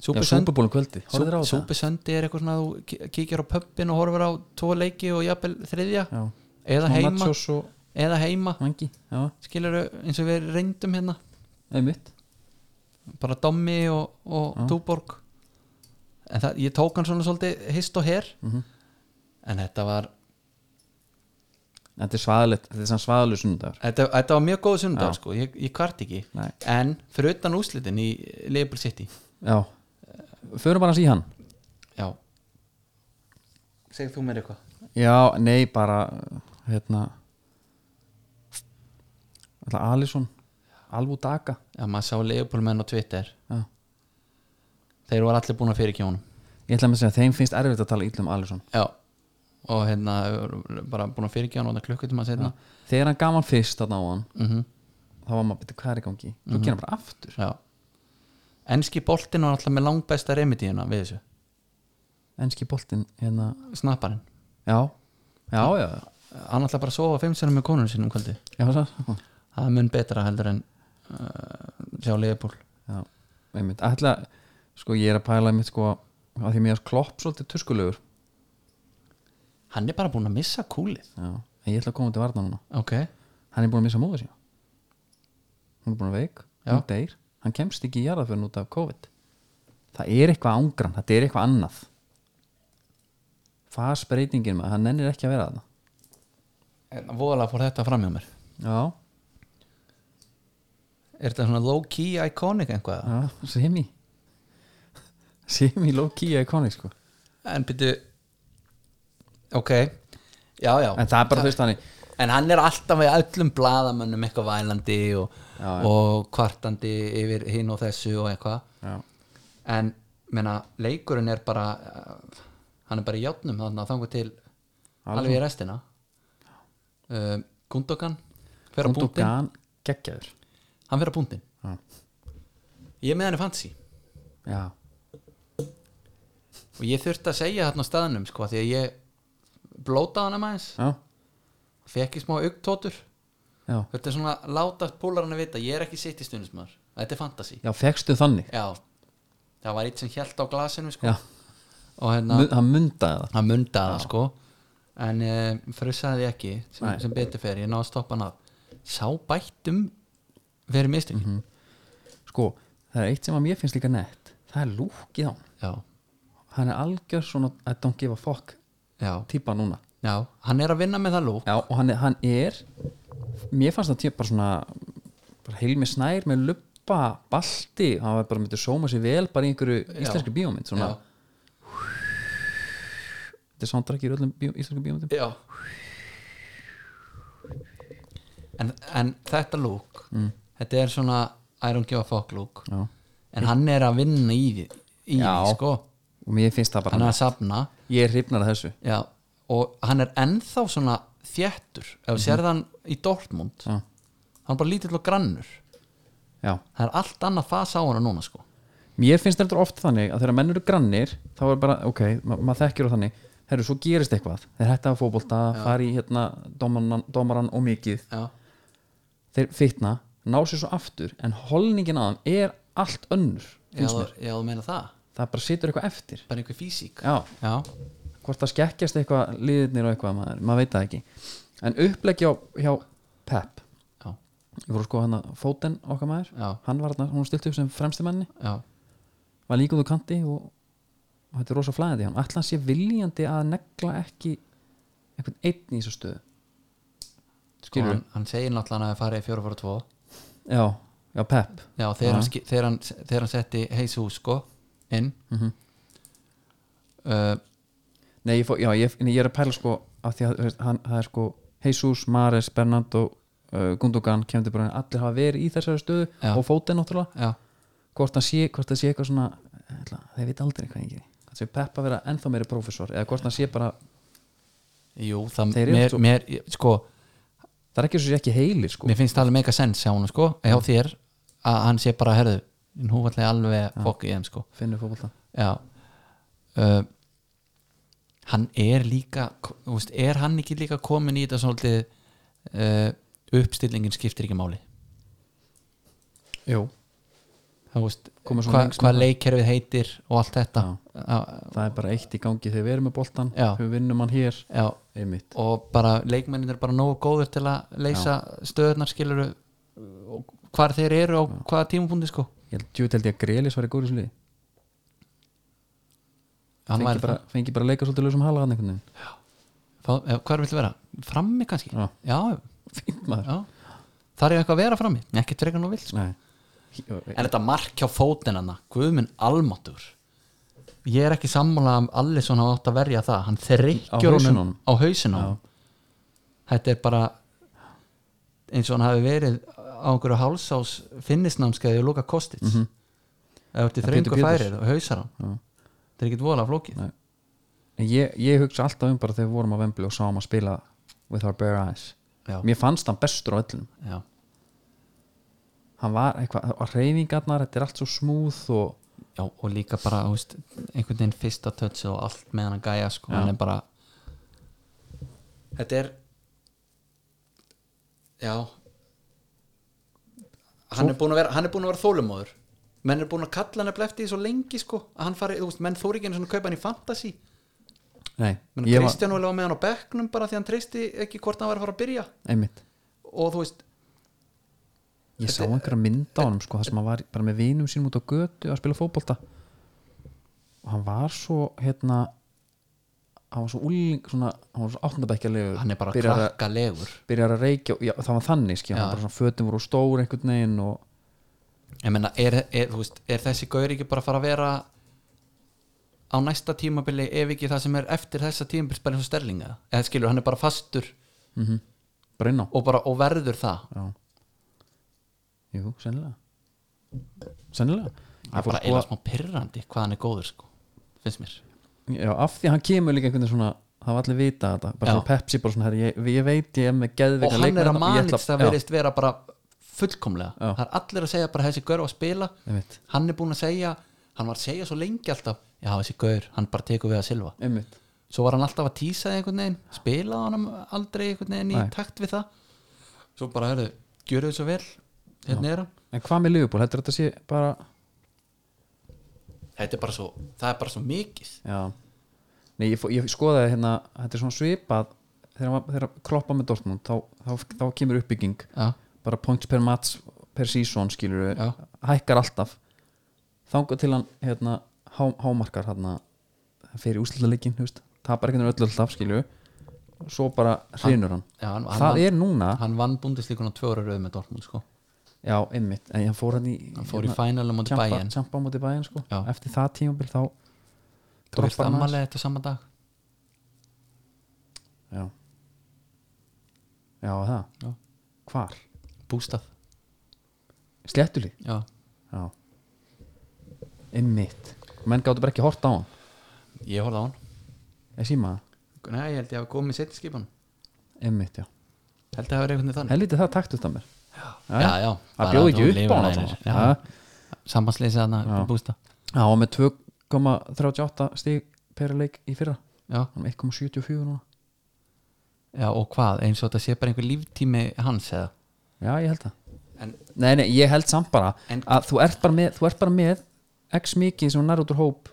Speaker 2: Super,
Speaker 1: Já
Speaker 2: Sun-
Speaker 1: Superbólum kvöldi. Hóruð þér á
Speaker 2: Sup-
Speaker 1: þetta?
Speaker 2: Super Sunday er eitthvað svona að þú ki- kíkir á pöppin og horfir á tvo leiki og jafnvel þriðja
Speaker 1: Já.
Speaker 2: eða
Speaker 1: Smá
Speaker 2: heima,
Speaker 1: Nachos og
Speaker 2: eða heima
Speaker 1: vangi. Já,
Speaker 2: skilur eins og við reyndum hérna
Speaker 1: einmitt.
Speaker 2: bara Dommi og, og Túborg en það, ég tók hann svona svolítið hist og her
Speaker 1: Mhm.
Speaker 2: en þetta var
Speaker 1: Þetta er svaðalegt, þetta er sann svaðalegu sunnudagur.
Speaker 2: þetta, þetta var mjög góð sundag
Speaker 1: Já.
Speaker 2: sko, ég, ég kvart ekki
Speaker 1: Nei.
Speaker 2: en fyrir utan úslitin í Liverpool City
Speaker 1: Já. Förum bara hans í hann.
Speaker 2: já segir þú mér eitthvað
Speaker 1: Já, nei, bara, hérna, ætla Alisson, Alvú Daga.
Speaker 2: já, maður sá Liverpool menn á Twitter
Speaker 1: Já.
Speaker 2: þeir voru allir búin að fyrir kjónum
Speaker 1: Ég ætla að segja að þeim finnst erfitt að tala ítlum Alisson
Speaker 2: já og hérna bara búin að fyrir kjónum og það klukkutum að setna
Speaker 1: Þegar hann gaf hann fyrst þarna á hann
Speaker 2: mm
Speaker 1: þá var maður betur hvað er í gangi Svo gerir hann bara aftur
Speaker 2: já enski boltin var alltaf með langbesta remedíuna við þessu,
Speaker 1: Enski boltinn hérna
Speaker 2: snapparinn
Speaker 1: Já, já, já,
Speaker 2: hann ætla bara að sofa fimm sinni með konunum sínum kvöldi
Speaker 1: já, já,
Speaker 2: það er mun betra heldur en uh, sjá Leifbúl
Speaker 1: já. Einmitt, ætla, sko ég er að pæla einmitt sko að því mér er klopp svolítið tuskulegur
Speaker 2: hann er bara búinn að missa kúlið
Speaker 1: Já, en ég ætla að koma til varna núna
Speaker 2: ok,
Speaker 1: Hann er búin að missa móður sína Hún er búin að veik,
Speaker 2: Já.
Speaker 1: hún deyr Hann kemst ekki í jarðaförn út af COVID Það er eitthvað ángrann, þetta er eitthvað annað Fasbreytingin maður, hann nennir ekki að vera þarna
Speaker 2: en voðalega fór þetta fram hjá mér
Speaker 1: Já,
Speaker 2: er þetta svona low key iconic einhvað
Speaker 1: Já, semi semi low-key iconic sko.
Speaker 2: en byrju ok, já já
Speaker 1: en það er bara þú veist þannig
Speaker 2: en hann er alltaf með öllum blaðamönnum eitthvað vælandi og
Speaker 1: Já, já.
Speaker 2: og kvartandi yfir hinn og þessu og eitthvað
Speaker 1: já,
Speaker 2: en meina, leikurinn er bara eh, hann er bara í játnum þannig að þangu til alveg í restina uh, Gundogan fer á búntin,
Speaker 1: Gundogan geggjaður
Speaker 2: hann fer á búntin
Speaker 1: Já.
Speaker 2: ég er með hann í fantasy
Speaker 1: já,
Speaker 2: og ég þurfti að segja þarna á staðnum sko, af því að ég blótaði hann aðeins
Speaker 1: já,
Speaker 2: fekk ég smá augtótur
Speaker 1: já,
Speaker 2: þurfti svona að láta púlarinn að vita ég er ekki sitt í stundismar, þetta er fantasy
Speaker 1: já fegstu þannig
Speaker 2: já, það var eitt sem hjælt á glasinu sko.
Speaker 1: já,
Speaker 2: og hérna,
Speaker 1: Mun, hann mundaði
Speaker 2: hann mundaði það sko en e, frusaði því ekki sem,
Speaker 1: Nei.
Speaker 2: sem betur fer, ég náði að stoppa hann af sá bættum verið mistökin
Speaker 1: Mhm. það sko, það er eitt sem að mér finnst líka nett það er lúkið á hann
Speaker 2: já,
Speaker 1: hann er algjör svona I don't give a fuck
Speaker 2: já,
Speaker 1: típa núna
Speaker 2: já, hann er að vinna með það lúk
Speaker 1: já, og hann er, hann er mér fannst það típa bara svona bara heilmi snær með luppa balti, hann var bara myndið sóma sér vel bara í einhverju íslenski bíómynd svona,
Speaker 2: já,
Speaker 1: þetta er soundtrack í öllum bíó, íslenski bíómyndum
Speaker 2: já. En, en þetta lúk þetta er svona I don't give a fuck lúk
Speaker 1: Mm. já.
Speaker 2: en hann er að vinna í því í
Speaker 1: Já.
Speaker 2: því sko
Speaker 1: og mér finnst það bara
Speaker 2: hann er að safna
Speaker 1: ég er hrifnar að þessu
Speaker 2: já, og hann er ennþá svona þjættur, ef þú sérð hann í Dortmund,
Speaker 1: já,
Speaker 2: hann er bara lítill og grannur
Speaker 1: já.
Speaker 2: það er allt annað fasa á hann núna sko
Speaker 1: mér finnst þetta oft þannig að þegar menn eru grannir þá er bara, ok, ma maður þekkir á þannig herru, svo gerist eitthvað, þeir hætta að fótbolta fari í hérna dómaran, dómaran og mikið
Speaker 2: já,
Speaker 1: þeir fitna, ná sér svo aftur en holningin að hann er allt önnur
Speaker 2: já,
Speaker 1: finnst mér,
Speaker 2: þú- já þú meina það
Speaker 1: það bara situr eitthvað eftir
Speaker 2: bara einhver físík
Speaker 1: já,
Speaker 2: já,
Speaker 1: hvort það skekkjast eitthvað liðirnir og eitthvað, maður, maður veit það ekki en uppleggi á, hjá Pep
Speaker 2: já,
Speaker 1: ég voru sko hann að fóten okkar maður
Speaker 2: já,
Speaker 1: hann var hann, hún stilti upp sem fremstimenni
Speaker 2: já, Sko,
Speaker 1: var líka úr kanti og, og þetta er rosa flæðið í hann ætla hann sé viljandi að negla ekki einhvern einn í þessu stöðu
Speaker 2: Sko,
Speaker 1: Skilurðu?
Speaker 2: hann, hann segir náttúrulega að það farið í fjóra fóra tvo
Speaker 1: já, já Pep
Speaker 2: já, þegar, hann, ski- þegar, hann, þegar hann setti heisu sko inn mm
Speaker 1: Mhm.
Speaker 2: uh,
Speaker 1: Nei, ég, fó, já, ég, nei, ég er að pæla sko af því að þú veist, hann, það er sko Jesus, Mares, Bernardo, uh, Gundogan kemdi bara allir hafa verið í þessari stöðu
Speaker 2: Já.
Speaker 1: og fótið náttúrulega,
Speaker 2: já, ætla,
Speaker 1: hvort það sé, hvort það sé eitthvað svona, eh, ætla, þeir veit aldrei hvað enginn það sé Peppa vera ennþá meiri prófessor eða hvort það sé bara,
Speaker 2: jú, það
Speaker 1: Þeir eru
Speaker 2: mér,
Speaker 1: svo-
Speaker 2: mér, ég- sko
Speaker 1: það er ekki svo sé ekki heilir sko, Mm.
Speaker 2: mér finnst það alveg mega sens hjá hún sko, hjá þér að hann sé bara, herðu, nú ætla ég alveg fokk í þeim sko
Speaker 1: finnur fótbolta
Speaker 2: já uh, hann er líka þú veist, er hann ekki líka komin í þetta svolítið uh, uppstillingin skiptir ekki máli
Speaker 1: Jú,
Speaker 2: Þú veist,
Speaker 1: Komið svona
Speaker 2: hva,
Speaker 1: lengst
Speaker 2: hvað
Speaker 1: með það.
Speaker 2: leikkerfið heitir og allt þetta
Speaker 1: Já.
Speaker 2: já.
Speaker 1: það er bara eitt í gangi þegar við erum með boltan,
Speaker 2: Já.
Speaker 1: við vinnum hann hér
Speaker 2: Já,
Speaker 1: einmitt,
Speaker 2: og bara leikmennin er bara nógu góður til að leysa stöðnar skilur og hvar þeir eru og hvaða tímapunkti sko
Speaker 1: ég held djúið held ég að Grelis var í góri sliði,
Speaker 2: hann
Speaker 1: fengi
Speaker 2: væri
Speaker 1: bara, fengi bara að leika svolítið lausum hala hann einhvern veginn,
Speaker 2: það eh, hvað viltu vera? Frammi kannski?
Speaker 1: Já.
Speaker 2: já,
Speaker 1: fínt maður
Speaker 2: já. þar er eitthvað að vera frammi ekki frekar nú vilt sko.
Speaker 1: Nei. Hí-
Speaker 2: en þetta mark hjá fótinanna guðminn almatur ég er ekki sammála að Allison hafa átt að verja það hann
Speaker 1: Á
Speaker 2: þreikjur
Speaker 1: hausinn á
Speaker 2: honum
Speaker 1: honum.
Speaker 2: á hausin á honum. þetta er bara eins og hann hafi verið á einhverju hálsás finnisnámskeiði og lúka kostið mm -hmm. eða þetta er
Speaker 1: En
Speaker 2: þrengu
Speaker 1: Mhm. Pétur Péturs.
Speaker 2: færið og hausar hann
Speaker 1: Já.
Speaker 2: þetta er ekkit voðalega flókið
Speaker 1: Nei. En ég, ég hugsa alltaf um bara þegar við vorum á Vembli og sáum að spila with our bare eyes
Speaker 2: já,
Speaker 1: mér fannst hann bestur á öllum
Speaker 2: já,
Speaker 1: hann var eitthvað, og reyfingarnar þetta er allt svo smúð og
Speaker 2: já, og líka bara þú veist, einhvern veginn fyrsta tötsi og allt með hann að gæja sko,
Speaker 1: Já.
Speaker 2: hann er bara þetta er já hann er búin að vera, hann er búin að vera þólumóður menn er búin að kalla hann eftir því svo lengi sko, að hann fari, þú veist, menn þóri ekki einu svona kaupa hann í fantasy,
Speaker 1: nei,
Speaker 2: menn
Speaker 1: ég var,
Speaker 2: Kristján var... var með hann á bekknum bara því hann treysti ekki hvort hann var að fara að byrja
Speaker 1: einmitt
Speaker 2: og þú veist,
Speaker 1: ég sá einhverja mynd á hann sko, það sem hann var bara með vinum sínum út á götu að spila fótbolta og hann var svo hérna hann var svo úling, svona, hann var svo áttundabækjalegur
Speaker 2: hann er bara
Speaker 1: byrjar, að-
Speaker 2: krakkalegur
Speaker 1: byrjar að reykja, og- já, það var þannig skjá, hann
Speaker 2: Já.
Speaker 1: bara svona fötum voru stór einhvern veginn og
Speaker 2: ég meina, er, er, þú veist, er þessi gaur ekki bara að fara að vera á næsta tímabili ef ekki það sem er eftir þessa tímabili bara eins og sterlinga eða skilur, hann er bara fastur
Speaker 1: bara inn á
Speaker 2: og, bara, og verður það
Speaker 1: Já. ég jú, sennilega sennilega
Speaker 2: það er bara eila smá pyrrandi hvað hann er góður sko, finnst mér
Speaker 1: já, af því að hann kemur líka einhvern veginn svona það var allir vita þetta, bara
Speaker 2: Já.
Speaker 1: svona Pepsi bara svona, herri, ég, ég veit ég er með
Speaker 2: og
Speaker 1: geðveika
Speaker 2: hann er að
Speaker 1: leikmenn og ég ætla-
Speaker 2: manits það
Speaker 1: Já,
Speaker 2: verðist vera bara fullkomlega
Speaker 1: Já.
Speaker 2: það er allir að segja bara þessi gaur á að spila
Speaker 1: einmitt,
Speaker 2: hann er búin að segja, hann var að segja svo lengi alltaf, já þessi gaur, hann bara tekur við að silfa
Speaker 1: einmitt
Speaker 2: svo var hann alltaf að tísa þig einhvern veginn spilaði hann aldrei einhvern veginn í
Speaker 1: Nei.
Speaker 2: takt við það svo bara, hörðu, gjöru þið svo vel hérna er hann
Speaker 1: en hvað með Liverpool, heldur þetta sé bara
Speaker 2: þetta er bara svo, það er bara svo mikið
Speaker 1: já, nei, ég, fó- ég skoðaði hérna þetta er svona svipað þegar, hann var- þegar kroppa með Dortmund þá, þá, þá kemur uppbygging
Speaker 2: já,
Speaker 1: bara points per match per season skilur
Speaker 2: Já.
Speaker 1: hækkar alltaf þangar til hann hérna, há, hámarkar hérna, fyrir úslutaleikin tapar ekki öllu alltaf skilur svo bara hrinur hann
Speaker 2: já hann, hann,
Speaker 1: það
Speaker 2: vann,
Speaker 1: er núna
Speaker 2: hann vann búndistíkun á tvöra rauð með Dortmund sko.
Speaker 1: já, einmitt, en hann fór hann í
Speaker 2: hann fór í fænalum á bæinn
Speaker 1: Hérna, tjampa á móti bæin sko.
Speaker 2: Já.
Speaker 1: eftir það tímabil þá
Speaker 2: þú veist
Speaker 1: droppar hann aðeins.
Speaker 2: ammalega þetta sama dag
Speaker 1: já já, það,
Speaker 2: Já.
Speaker 1: hvar?
Speaker 2: bústað,
Speaker 1: sléttulíð?
Speaker 2: já
Speaker 1: já einmitt, menn gáttu bara ekki hort á hann
Speaker 2: ég horfði á hann,
Speaker 1: ég síma það
Speaker 2: nei ég held ég hafi komið setni skipan,
Speaker 1: Einmitt, já.
Speaker 2: held ég hafi verið einhvern veginn þannig
Speaker 1: Helviti það takt út af mér. Já,
Speaker 2: já, já,
Speaker 1: Það
Speaker 2: bara
Speaker 1: bjóði ekki
Speaker 2: hún
Speaker 1: upp á
Speaker 2: lifir
Speaker 1: hana
Speaker 2: nær.
Speaker 1: svona.
Speaker 2: Já, sambandsleysi hann að
Speaker 1: Já.
Speaker 2: bústa
Speaker 1: Já, og með 2,38 stig per leik í fyrra.
Speaker 2: já,
Speaker 1: Hann er 1,74 núna.
Speaker 2: já, og hvað, eins og þetta sé bara einhver líftími hans eða
Speaker 1: Já, ég held það.
Speaker 2: en,
Speaker 1: Nei, nei, ég held samt bara
Speaker 2: En-
Speaker 1: að þú ert bara með, þú ert bara með x mikið sem nær út úr hóp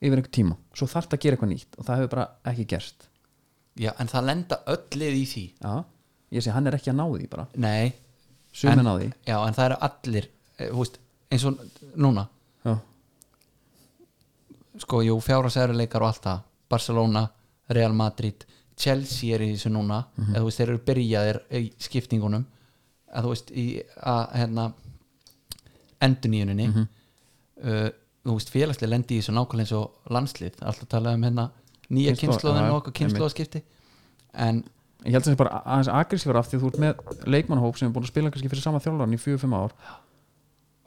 Speaker 1: yfir einhver tíma. Svo þarf að gera eitthvað nýtt og það hefur bara ekki gerst.
Speaker 2: já, en það lenda öll lið í því
Speaker 1: Já, ég sé, hann er ekki að ná því bara.
Speaker 2: nei,
Speaker 1: Sumir
Speaker 2: En-
Speaker 1: ná því.
Speaker 2: já, en það eru allir eh, þú veist, eins og núna
Speaker 1: Já,
Speaker 2: sko, jú, fjára særuleikar og allt það Barcelona, Real Madrid Chelsea er í þessu núna
Speaker 1: Mhm.
Speaker 2: eða þú veist, þeir eru byrjaðir í skiptingunum að þú veist, í að hérna enduníuninni
Speaker 1: Mhm.
Speaker 2: uh, þú veist, félagslega lendi í þessu nákvæmlega eins og landslið, alltaf talað um hérna nýja
Speaker 1: Kynslóð- já,
Speaker 2: kynnslóðin
Speaker 1: já,
Speaker 2: og okkar kynnslóðskipti en
Speaker 1: ég held sem sé bara aðeins aggressífur af því að þú ert með leikmannhóp sem er búin að spila kannski fyrir sama þjálfarn í 4-5 ár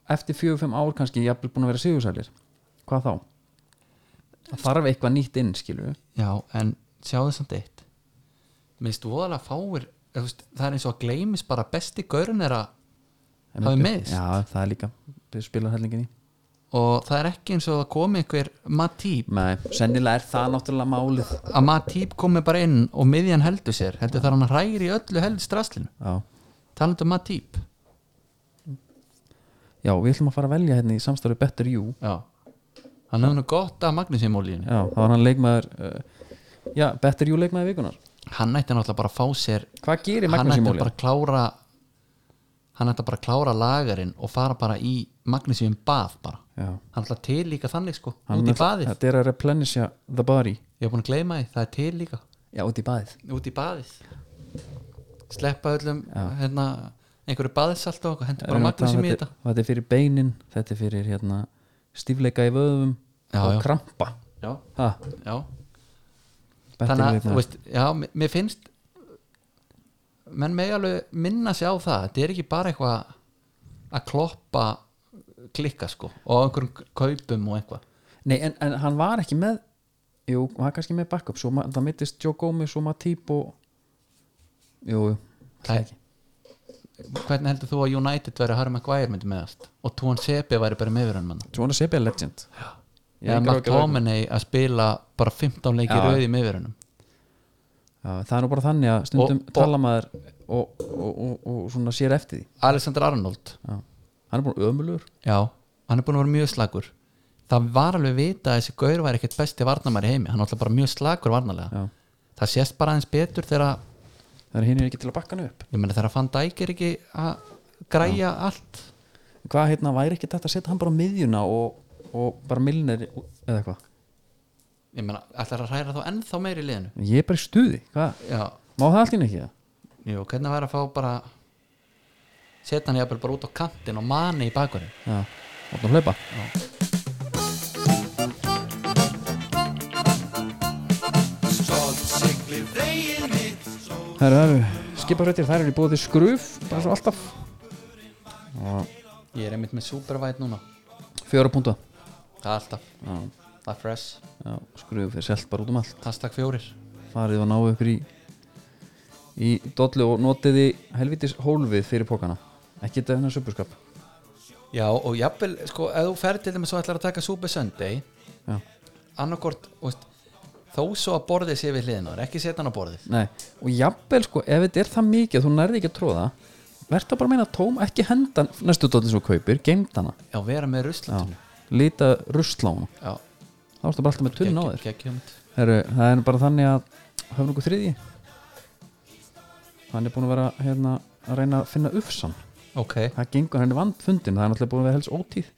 Speaker 1: eftir 4-5 ár kannski ég er búin að vera sigursælir hvað þá? það þarf eitthvað nýtt inn skilu
Speaker 2: Já, en sjáðu samt eitt minnst voðalega fáir eða þú veist, það er eins og að gleymis bara besti gaurun er að hafi meðist
Speaker 1: já það er líka við spila hellingin í
Speaker 2: og það er ekki eins og að komi einhver Matýp,
Speaker 1: Nei, sennilega er það náttúrulega málið
Speaker 2: að Matýp komi bara inn og miðjan heldur sér, heldur þar hann hræri í öllu heldur straslinu,
Speaker 1: já.
Speaker 2: talandi um Matýp
Speaker 1: já, við ætlum að fara að velja hérna í samstarfi Better You
Speaker 2: Já, hann hefði nú gott að Magnúsim ólíðinu,
Speaker 1: já, það var hann leikmaður uh, já, Better You leikmaður vikunar
Speaker 2: hann ætti náttúrulega bara að fá sér
Speaker 1: hvað gerir
Speaker 2: hann
Speaker 1: Magnús í
Speaker 2: ætti
Speaker 1: múli?
Speaker 2: bara að klára hann ætti bara að klára lagarinn og fara bara í Magnúsim bað bara
Speaker 1: Já.
Speaker 2: hann ætla til líka þannig sko,
Speaker 1: Hann
Speaker 2: út í
Speaker 1: er-
Speaker 2: baðið
Speaker 1: þetta er að replenisha the body
Speaker 2: Ég hef búin að gleyma því, það er til líka
Speaker 1: já, út í baðið
Speaker 2: út í baðið sleppa öllum hérna, einhverju baðsalt og okkur, hendur bara
Speaker 1: Erum að
Speaker 2: magnum
Speaker 1: tala um
Speaker 2: sem í þetta
Speaker 1: þetta er fyrir beinin, þetta er fyrir hérna, stífleika í vöðum
Speaker 2: Já,
Speaker 1: og
Speaker 2: já.
Speaker 1: krampa
Speaker 2: já,
Speaker 1: ha,
Speaker 2: já. þannig að, þú
Speaker 1: Þannig,
Speaker 2: veist, já, mér- mér finnst menn megi alveg minna sig á það, þetta er ekki bara eitthvað að kloppa klikka sko, og á einhverjum kaupum og eitthvað,
Speaker 1: Nei, en, en hann var ekki með jú, hann var kannski með backup svo, ma- það mittist Joe Gómez og Matip og jú, jú,
Speaker 2: það er ekki hvernig heldur þú að United væri Harry Maguire myndi með allt og Tuan Sebi væri bara meðurinn manna
Speaker 1: svona sepja legend Ég
Speaker 2: eða
Speaker 1: er
Speaker 2: Mark
Speaker 1: ekki að-
Speaker 2: Tominey að spila bara 15 leiki
Speaker 1: Já.
Speaker 2: rauði með verunum
Speaker 1: Já, það er nú bara þannig að stundum
Speaker 2: Og- og-
Speaker 1: tala maður og, og, og, og svona sér eftir því
Speaker 2: Alexander Arnold
Speaker 1: já. hann er búin ömulur
Speaker 2: já, hann er búin að vera mjög slagur það var alveg vita að þessi gaur var ekkert besti varnamæri í heimi, hann er alltaf bara mjög slagur varnalega
Speaker 1: Já.
Speaker 2: það sést bara aðeins betur þegar að-
Speaker 1: það er hinn ekki til að bakka hann upp
Speaker 2: ég meina þegar að fann dækir ekki að græja allt
Speaker 1: hvað hérna, væri ekki þetta að setja hann bara á miðjuna og, og bara milnir eða eitthvað
Speaker 2: ég meina, ætlar að hræra þá ennþá meiri í liðinu
Speaker 1: ég er bara í stuði, hvað,
Speaker 2: já,
Speaker 1: má það allt í einu ekki það?
Speaker 2: jú, hvernig væri að fá bara setja hann jafnvel bara út á kantinn og mani í bakverðin
Speaker 1: já, áttu að hlaupa herru, herru, skiparöttir þær eru í búið skruf, bara svo alltaf og
Speaker 2: ég er einmitt með supervæt núna
Speaker 1: fjóra púnta
Speaker 2: það er alltaf,
Speaker 1: já,
Speaker 2: það er fresh
Speaker 1: já, skröðu fyrir selt bara út um allt
Speaker 2: hashtag fjórir
Speaker 1: farið og náðu ykkur í í dollu og notiði helvitis hólfið fyrir pókana ekki þetta hennar söpurskap
Speaker 2: já og jafnvel, sko, ef þú ferð til þeim svo ætlar að taka Super Sunday
Speaker 1: já,
Speaker 2: annarkort, veist, þó svo að borðið sé við hliðin á þér, ekki setja hann á borðið
Speaker 1: nei og jafnvel sko, ef þetta er það mikið að þú nærði ekki að tróða verður bara að meina tóm, ekki hendan næstu dollu sem þú kaupir, geimd hana
Speaker 2: já, vera með ruslatun
Speaker 1: já, lita rusla á hana
Speaker 2: já,
Speaker 1: þá ertu bara alltaf með tunn á þér
Speaker 2: gekkjönd
Speaker 1: Heru, það er bara þannig að höfum okkur þriði hann er búin að vera hérna, að reyna að finna ufsan
Speaker 2: ok,
Speaker 1: það gengur, hann er vandfundin það er náttúrulega búin að vera helst ótíð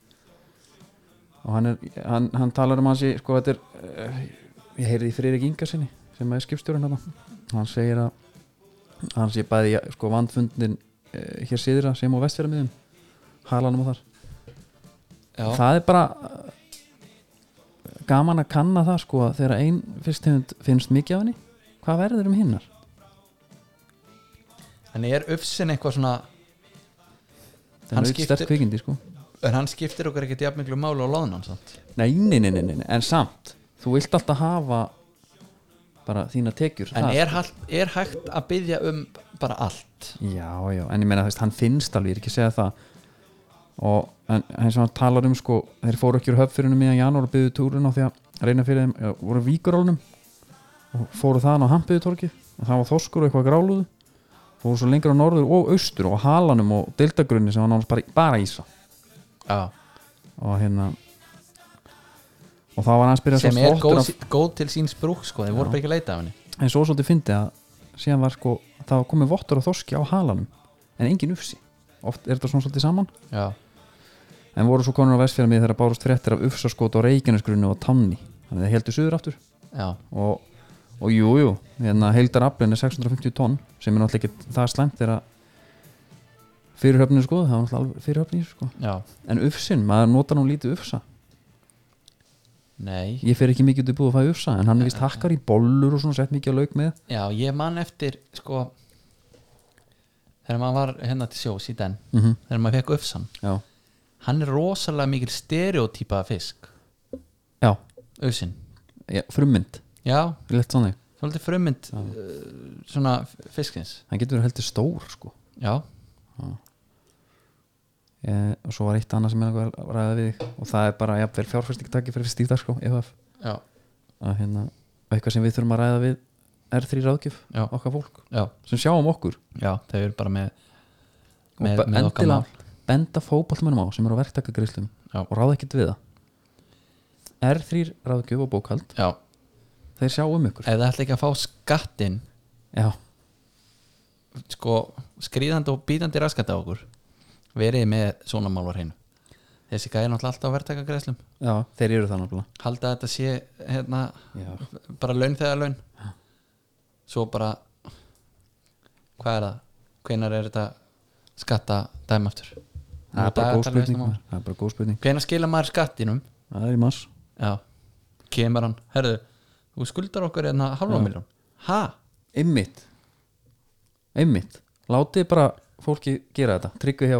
Speaker 1: og hann, er, hann, hann talar um hans í sko þetta er eh, ég heyrði í Friðrik Inga sinni sem er skipstjórinn hann hann segir að hann sé bæði ja, sko vandfundin eh, hér síðra sem og vestfjöramiðum halanum og þar
Speaker 2: já,
Speaker 1: það er bara eh, gaman að kanna það sko að þegar ein fyrsttegund finnst mikið af henni hvað verður um hinnar?
Speaker 2: en er ufsin eitthvað svona
Speaker 1: Það
Speaker 2: Hann
Speaker 1: er auðvitað
Speaker 2: skiptir-
Speaker 1: sterk kvikindi sko
Speaker 2: en hann skiptir okkur ekkert jafn miklu máli á loðunan samt
Speaker 1: Nei, nei, nei, nei, nei, nei, en samt þú vilt alltaf hafa bara þína tekjur
Speaker 2: en
Speaker 1: það,
Speaker 2: er, hal- er hægt að byggja um bara allt
Speaker 1: Já, já, en ég meina þú veist, hann finnst alveg, ég er ekki að segja það og en, eins og hann talar um sko, þeir fóru ekki úr höfn fyrir miðan janúar og byggðu túrin á því að reyna fyrir þeim, já, voru víkurólnum og fóru þaðan á Hampiðutorkið og það var þorskur og eitthvað gráluðu fóru svo lengra á norður og austur og á halanum og deildagrunni sem var nánast bara, bara ísa
Speaker 2: já,
Speaker 1: og hérna og það var hans byrjað
Speaker 2: sem
Speaker 1: sá
Speaker 2: er
Speaker 1: þvottur
Speaker 2: góð,
Speaker 1: af-
Speaker 2: sí- góð til síns brúk sko, þeir voru bara ekki að leita af henni
Speaker 1: en svo svolítið fyndi að síðan var sko, það var komið vottur og þorski á halanum en engin ufsi oft er þetta svona svolítið saman
Speaker 2: já,
Speaker 1: en voru svo konur á vestfjörðum þegar bárust fréttir af ufsaskot á reikinusgrunni og tanni þannig að það heldur suður aftur
Speaker 2: já,
Speaker 1: og, og jú, jú, hérna heildar aflinn er 650 tonn sem er náttúrulega ekki það slæmt þegar að fyrirhöfninu sko, það var náttúrulega alveg fyrirhöfninu sko
Speaker 2: já
Speaker 1: en ufsin, maður notar nú lítið ufsa
Speaker 2: nei,
Speaker 1: ég fer ekki mikið út í búið að fæða ufsa en hann er vist hakkar í bollur og svona sett mikið á lauk með
Speaker 2: Já, ég man eftir sko þegar maður var hérna til sjós í den
Speaker 1: mm
Speaker 2: þegar maður fekk Ufsan
Speaker 1: já,
Speaker 2: hann er rosalega mikil stereotypa fisk
Speaker 1: já,
Speaker 2: Ufsin,
Speaker 1: já, frummynd
Speaker 2: já,
Speaker 1: lett þannig
Speaker 2: svolítið frummynd uh, svona fiskins
Speaker 1: hann getur verið heldur stór sko
Speaker 2: Já,
Speaker 1: eh, og svo var eitt annað sem ég er að ræða við þig og það er bara jafnvel fjárfærstingtaki fyrir stífdar sko EHF,
Speaker 2: já,
Speaker 1: að hérna eitthvað sem við þurfum að ræða við R3 ráðgjöf
Speaker 2: Já.
Speaker 1: okkar fólk
Speaker 2: já,
Speaker 1: sem sjáum okkur
Speaker 2: já þau eru bara með
Speaker 1: og
Speaker 2: Með-
Speaker 1: be-
Speaker 2: með okkar
Speaker 1: endilega benda fótballmennum á sem eru á verktakagreislum
Speaker 2: Já.
Speaker 1: og ráða ekkert við það R3 ráðgjöf og bókald
Speaker 2: Já,
Speaker 1: þeir sjá um ykkur
Speaker 2: ef það ætla ekki að fá skattinn
Speaker 1: já,
Speaker 2: sko skrýðandi og býtandi raskat á okkur verið með svona málar hreinu þessi gæði náttúrulega alltaf á verðtakagreslum
Speaker 1: já, þeir eru það náttúrulega
Speaker 2: halda að þetta sé hérna
Speaker 1: já.
Speaker 2: bara laun þegar laun svo bara hvað er það, hvenar er þetta skatta dæmi aftur
Speaker 1: það er bara góð
Speaker 2: Dagatalið
Speaker 1: spurning
Speaker 2: veistum á.
Speaker 1: maður. það er bara góð spurning,
Speaker 2: hvenar skila maður skattinum
Speaker 1: það er í mass
Speaker 2: já, kemur hann herðu, þú skuldar okkur hérna halva miljón ha,
Speaker 1: einmitt einmitt, látið bara fólki gera þetta, tryggvi hjá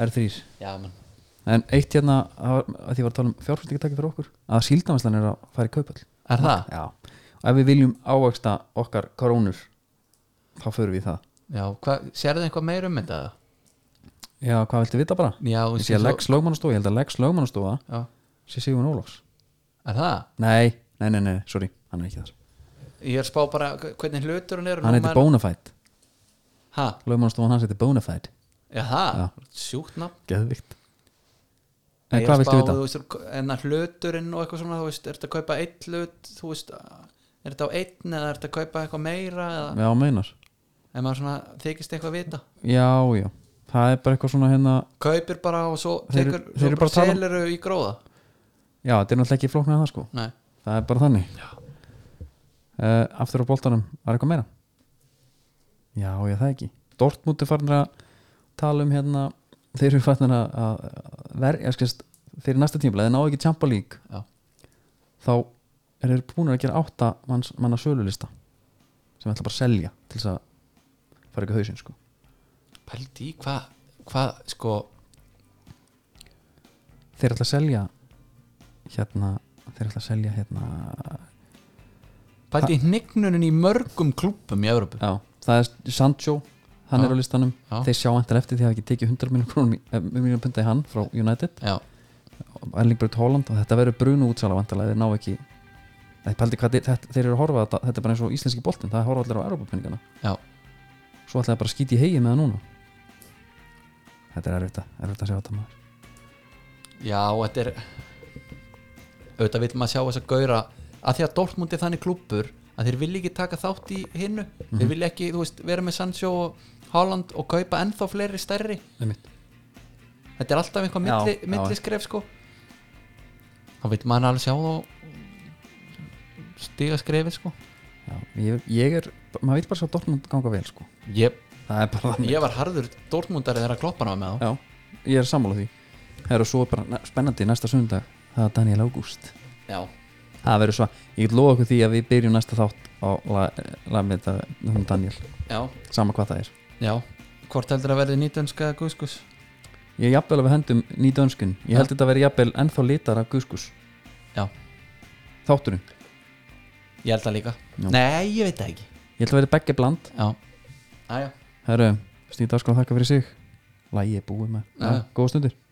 Speaker 1: R3
Speaker 2: já mann
Speaker 1: en eitt hérna, að að því var að tala um fjárfæstingataki fyrir okkur, að síldamæslan er að fara í kaupall
Speaker 2: er það,
Speaker 1: já, og ef við viljum ávægsta okkar korónur þá förum við í það
Speaker 2: já, hvað, sérðu eitthvað meir um þetta
Speaker 1: já, hvað viltu vita bara?
Speaker 2: já, þú
Speaker 1: ég sé að
Speaker 2: svo-
Speaker 1: Lex Lögmannastofa, ég held að Lex Lögmannastofa
Speaker 2: já,
Speaker 1: sé Sigurinn Ólafs
Speaker 2: er það,
Speaker 1: nei, nei, nei, nei, sorry, hann er ekki þar
Speaker 2: ég er að spá bara hvernig hlutur hann er
Speaker 1: hann heitir Bonafide,
Speaker 2: ha,
Speaker 1: Lögmannastofa hans heitir Bonafide
Speaker 2: já það,
Speaker 1: Já.
Speaker 2: sjúkt nafn
Speaker 1: geðvikt en
Speaker 2: Ég er að
Speaker 1: hvað
Speaker 2: spá,
Speaker 1: viltu vita?
Speaker 2: þú veist, um En að hluturinn og eitthvað svona Þú veist, er þetta að kaupa eitt hlut Þú veist, er þetta á einn Eða er þetta að kaupa eitthvað meira eða,
Speaker 1: já, meinar
Speaker 2: En maður svona þykist eitthvað vita
Speaker 1: Já, já, það er bara eitthvað svona hérna
Speaker 2: Kaupir bara og svo
Speaker 1: Þeir-
Speaker 2: tekur
Speaker 1: þeir
Speaker 2: Svo
Speaker 1: eru
Speaker 2: bara
Speaker 1: bara að tala um-
Speaker 2: selur í gróða
Speaker 1: Já, þetta er náttúrulega ekki flóknir en það sko
Speaker 2: Nei,
Speaker 1: Það er bara þannig uh, Aftur á boltanum, var eitthvað meira? Já, já, það ekki Dortmund er farin að tala um hérna Þeir eru farin að- að verja skist, Fyrir næsta tímla, þeir ná ekki Champa League
Speaker 2: Já.
Speaker 1: Þá eru þeir búin að gera átta manns, manna sölulista sem ætla bara að selja til þess að fara ekki á hausinn sko
Speaker 2: pældi í hvað hvað sko
Speaker 1: þeir ætla að selja hérna, þeir ætla að selja hérna
Speaker 2: bæti hnignunum í mörgum klúppum í Evrópu
Speaker 1: já, það er Sancho hann
Speaker 2: Já.
Speaker 1: er á listanum,
Speaker 2: Já.
Speaker 1: þeir sjá endan eftir því að hafa ekki tekið 100 miljón krónum í- eh, milljón punda í hann frá United,
Speaker 2: já,
Speaker 1: Erling Braut Holland og þetta verður brunu útsala vantarlega, þeir ná ekki þeir, pældi, hvað, þeir, þetta- þeir eru að horfa á þetta, þetta er bara eins og íslenski boltinn, það horfa allir á Europapenningana
Speaker 2: já,
Speaker 1: svo ætla það bara að skýti í hegi með það núna þetta er erfitt að, erfitt að sjá þetta maður
Speaker 2: já, þetta er auðvitað vil maður sjá þess að gauðra að því að Dortmund er þannig klúppur að þeir vilja ekki taka þátt í hinnu
Speaker 1: Mhm.
Speaker 2: þeir vilja ekki, þú veist, vera með Sancho og Haaland og kaupa ennþá fleiri stærri
Speaker 1: Einmitt.
Speaker 2: þetta er alltaf
Speaker 1: Já,
Speaker 2: einhvað milli,
Speaker 1: já.
Speaker 2: milli skref sko þá vil maður alveg sjá þá stiga skrefið sko
Speaker 1: Já, ég, ég er, maður vil bara sjá Dortmund ganga vel sko,
Speaker 2: ég,
Speaker 1: það er bara þannig
Speaker 2: ég var harður Dortmundari þegar að kloppa hann með þá
Speaker 1: Já, ég er sammála því Það eru svo bara næ- spennandi næsta sundag Það er Daniel August
Speaker 2: já,
Speaker 1: Það verður svo, ég get lofa okkur því að við byrjum næsta þátt á lag la, með þetta um Daniel,
Speaker 2: já,
Speaker 1: sama hvað það er
Speaker 2: já hvort heldur að verði nýtönska eða guðskus
Speaker 1: Ég er jafnvel að við hendum nýdönskun Ég held
Speaker 2: Já.
Speaker 1: þetta að vera jafnvel ennþá litar af Guskus
Speaker 2: já,
Speaker 1: Þátturinn,
Speaker 2: ég held það líka
Speaker 1: Já.
Speaker 2: nei, ég veit það ekki
Speaker 1: ég held að vera begge bland
Speaker 2: já, aðja
Speaker 1: Herru, Stíð Dagskóla þakka fyrir sig Lægi er búið með,
Speaker 2: Já.
Speaker 1: góða stundir